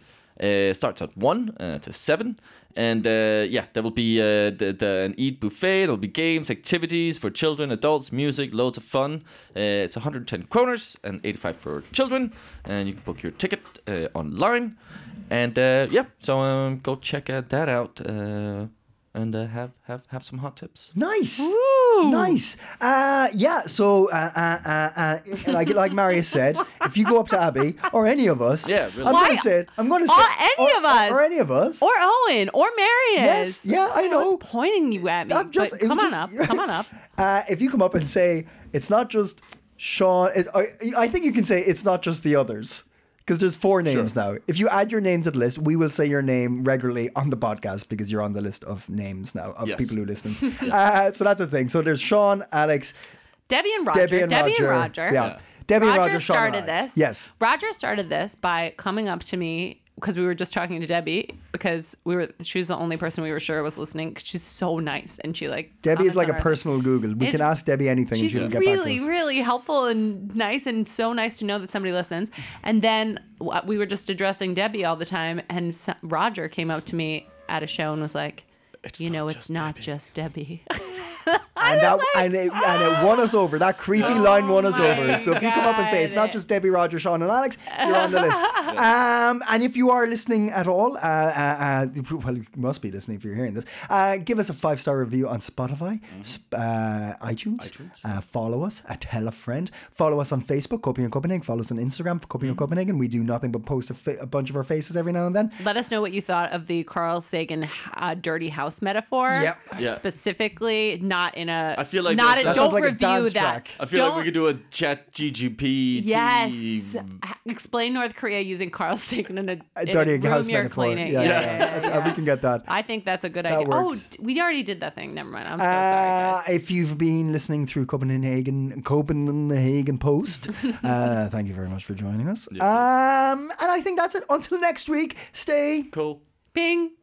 Speaker 2: Uh, starts at one uh, to seven, and uh, yeah, there will be uh, the, the an Eid buffet. There will be games, activities for children, adults, music, loads of fun. Uh, it's 110 kroners and 85 for children, and you can book your ticket uh, online. And uh, yeah, so um, go check uh, that out. Uh, and uh, have have have some hot tips.
Speaker 1: Nice. Nice. Uh, yeah. So, uh, uh, uh, uh, like like Marius said, if you go up to Abby or any of us,
Speaker 2: Yeah, really.
Speaker 1: I'm
Speaker 3: Why-
Speaker 1: gonna say it. I'm gonna say
Speaker 3: Or
Speaker 1: it.
Speaker 3: any
Speaker 1: Or-
Speaker 3: of us.
Speaker 1: or, any of us,
Speaker 3: Or Owen, or
Speaker 1: Yes,
Speaker 3: Marius.
Speaker 1: yeah, I
Speaker 3: don't
Speaker 1: know.
Speaker 3: what's pointing you at me.
Speaker 1: I'm just-
Speaker 3: but
Speaker 1: it was
Speaker 3: come on
Speaker 1: just-
Speaker 3: up. Come on up.
Speaker 1: Uh, if you come up and say it's not just Sean, it, I, I think you can say it's not just the others because there's four names now. If you add your name to the list, we will say your name regularly on the podcast because you're on the list of names now of
Speaker 2: Yes.
Speaker 1: people who listen. uh, so that's a thing. So there's Sean, Alex,
Speaker 3: Debbie and Roger.
Speaker 1: Debbie and Roger.
Speaker 3: Roger.
Speaker 1: Yeah. Debbie and
Speaker 3: Roger,
Speaker 1: Roger, Sean and
Speaker 3: started
Speaker 1: Alex.
Speaker 3: this.
Speaker 1: Yes.
Speaker 3: Roger started this by coming up to me because we were just talking to Debbie because we were she was the only person we were sure was listening. 'cause She's so nice and she like
Speaker 1: Debbie is
Speaker 3: comments
Speaker 1: like
Speaker 3: on
Speaker 1: a
Speaker 3: our-
Speaker 1: personal Google. We
Speaker 3: It's-
Speaker 1: can ask Debbie anything and
Speaker 3: She's
Speaker 1: she will get
Speaker 3: really,
Speaker 1: back to us.
Speaker 3: really helpful and nice, and so nice to know that somebody listens. And then w- we were just addressing Debbie all the time, and s Roger came up to me at a show and was like, "You know, it's not just Debbie."
Speaker 1: and that and, it, and it won us over. That creepy line won us
Speaker 3: Oh my
Speaker 1: over. So if you come up and say it's not
Speaker 3: God.
Speaker 1: just Debbie, Roger, Sean, and Alex, you're on the list. Um, and if you are listening at all, uh, uh, uh, well, you must be listening if you're hearing this. Uh, give us a five star review on Spotify,
Speaker 3: Mm-hmm.
Speaker 1: sp- uh, iTunes. Uh, follow us. Uh, tell a friend. Follow us on Facebook, Copenhagen Copenhagen. Follow us on Instagram for
Speaker 3: Mm-hmm.
Speaker 1: Copenhagen Copenhagen. We do nothing but post a, fa- a bunch of our faces every now and then. Uh,
Speaker 3: Let us know what you thought of the Carl Sagan uh, dirty house metaphor.
Speaker 1: Yep.
Speaker 2: Yeah.
Speaker 3: Specifically, not in a.
Speaker 2: I feel like
Speaker 3: not.
Speaker 2: that-
Speaker 3: A,
Speaker 2: That
Speaker 3: don't
Speaker 1: sounds like a
Speaker 3: review
Speaker 1: dance
Speaker 3: that.
Speaker 1: track.
Speaker 2: I feel like we
Speaker 3: Don't-
Speaker 2: could do a chat GGP.
Speaker 3: Yes. Ha- Explain North Korea using Carl Sagan in a,
Speaker 1: A
Speaker 3: in a
Speaker 1: dirty
Speaker 3: room
Speaker 1: house
Speaker 3: you're
Speaker 1: metaphor.
Speaker 3: cleaning.
Speaker 1: Yeah,
Speaker 2: Yeah.
Speaker 1: yeah, yeah. Uh, we can get that.
Speaker 3: I think that's a good
Speaker 1: That
Speaker 3: idea.
Speaker 1: works.
Speaker 3: Oh, d- we already did that thing. Never mind. I'm so
Speaker 1: Uh,
Speaker 3: sorry, guys.
Speaker 1: if you've been listening through Copenhagen Copenhagen Post, uh, thank you very much for joining us. Um, and I think that's it. Until next week, stay
Speaker 2: cool.
Speaker 3: Bing.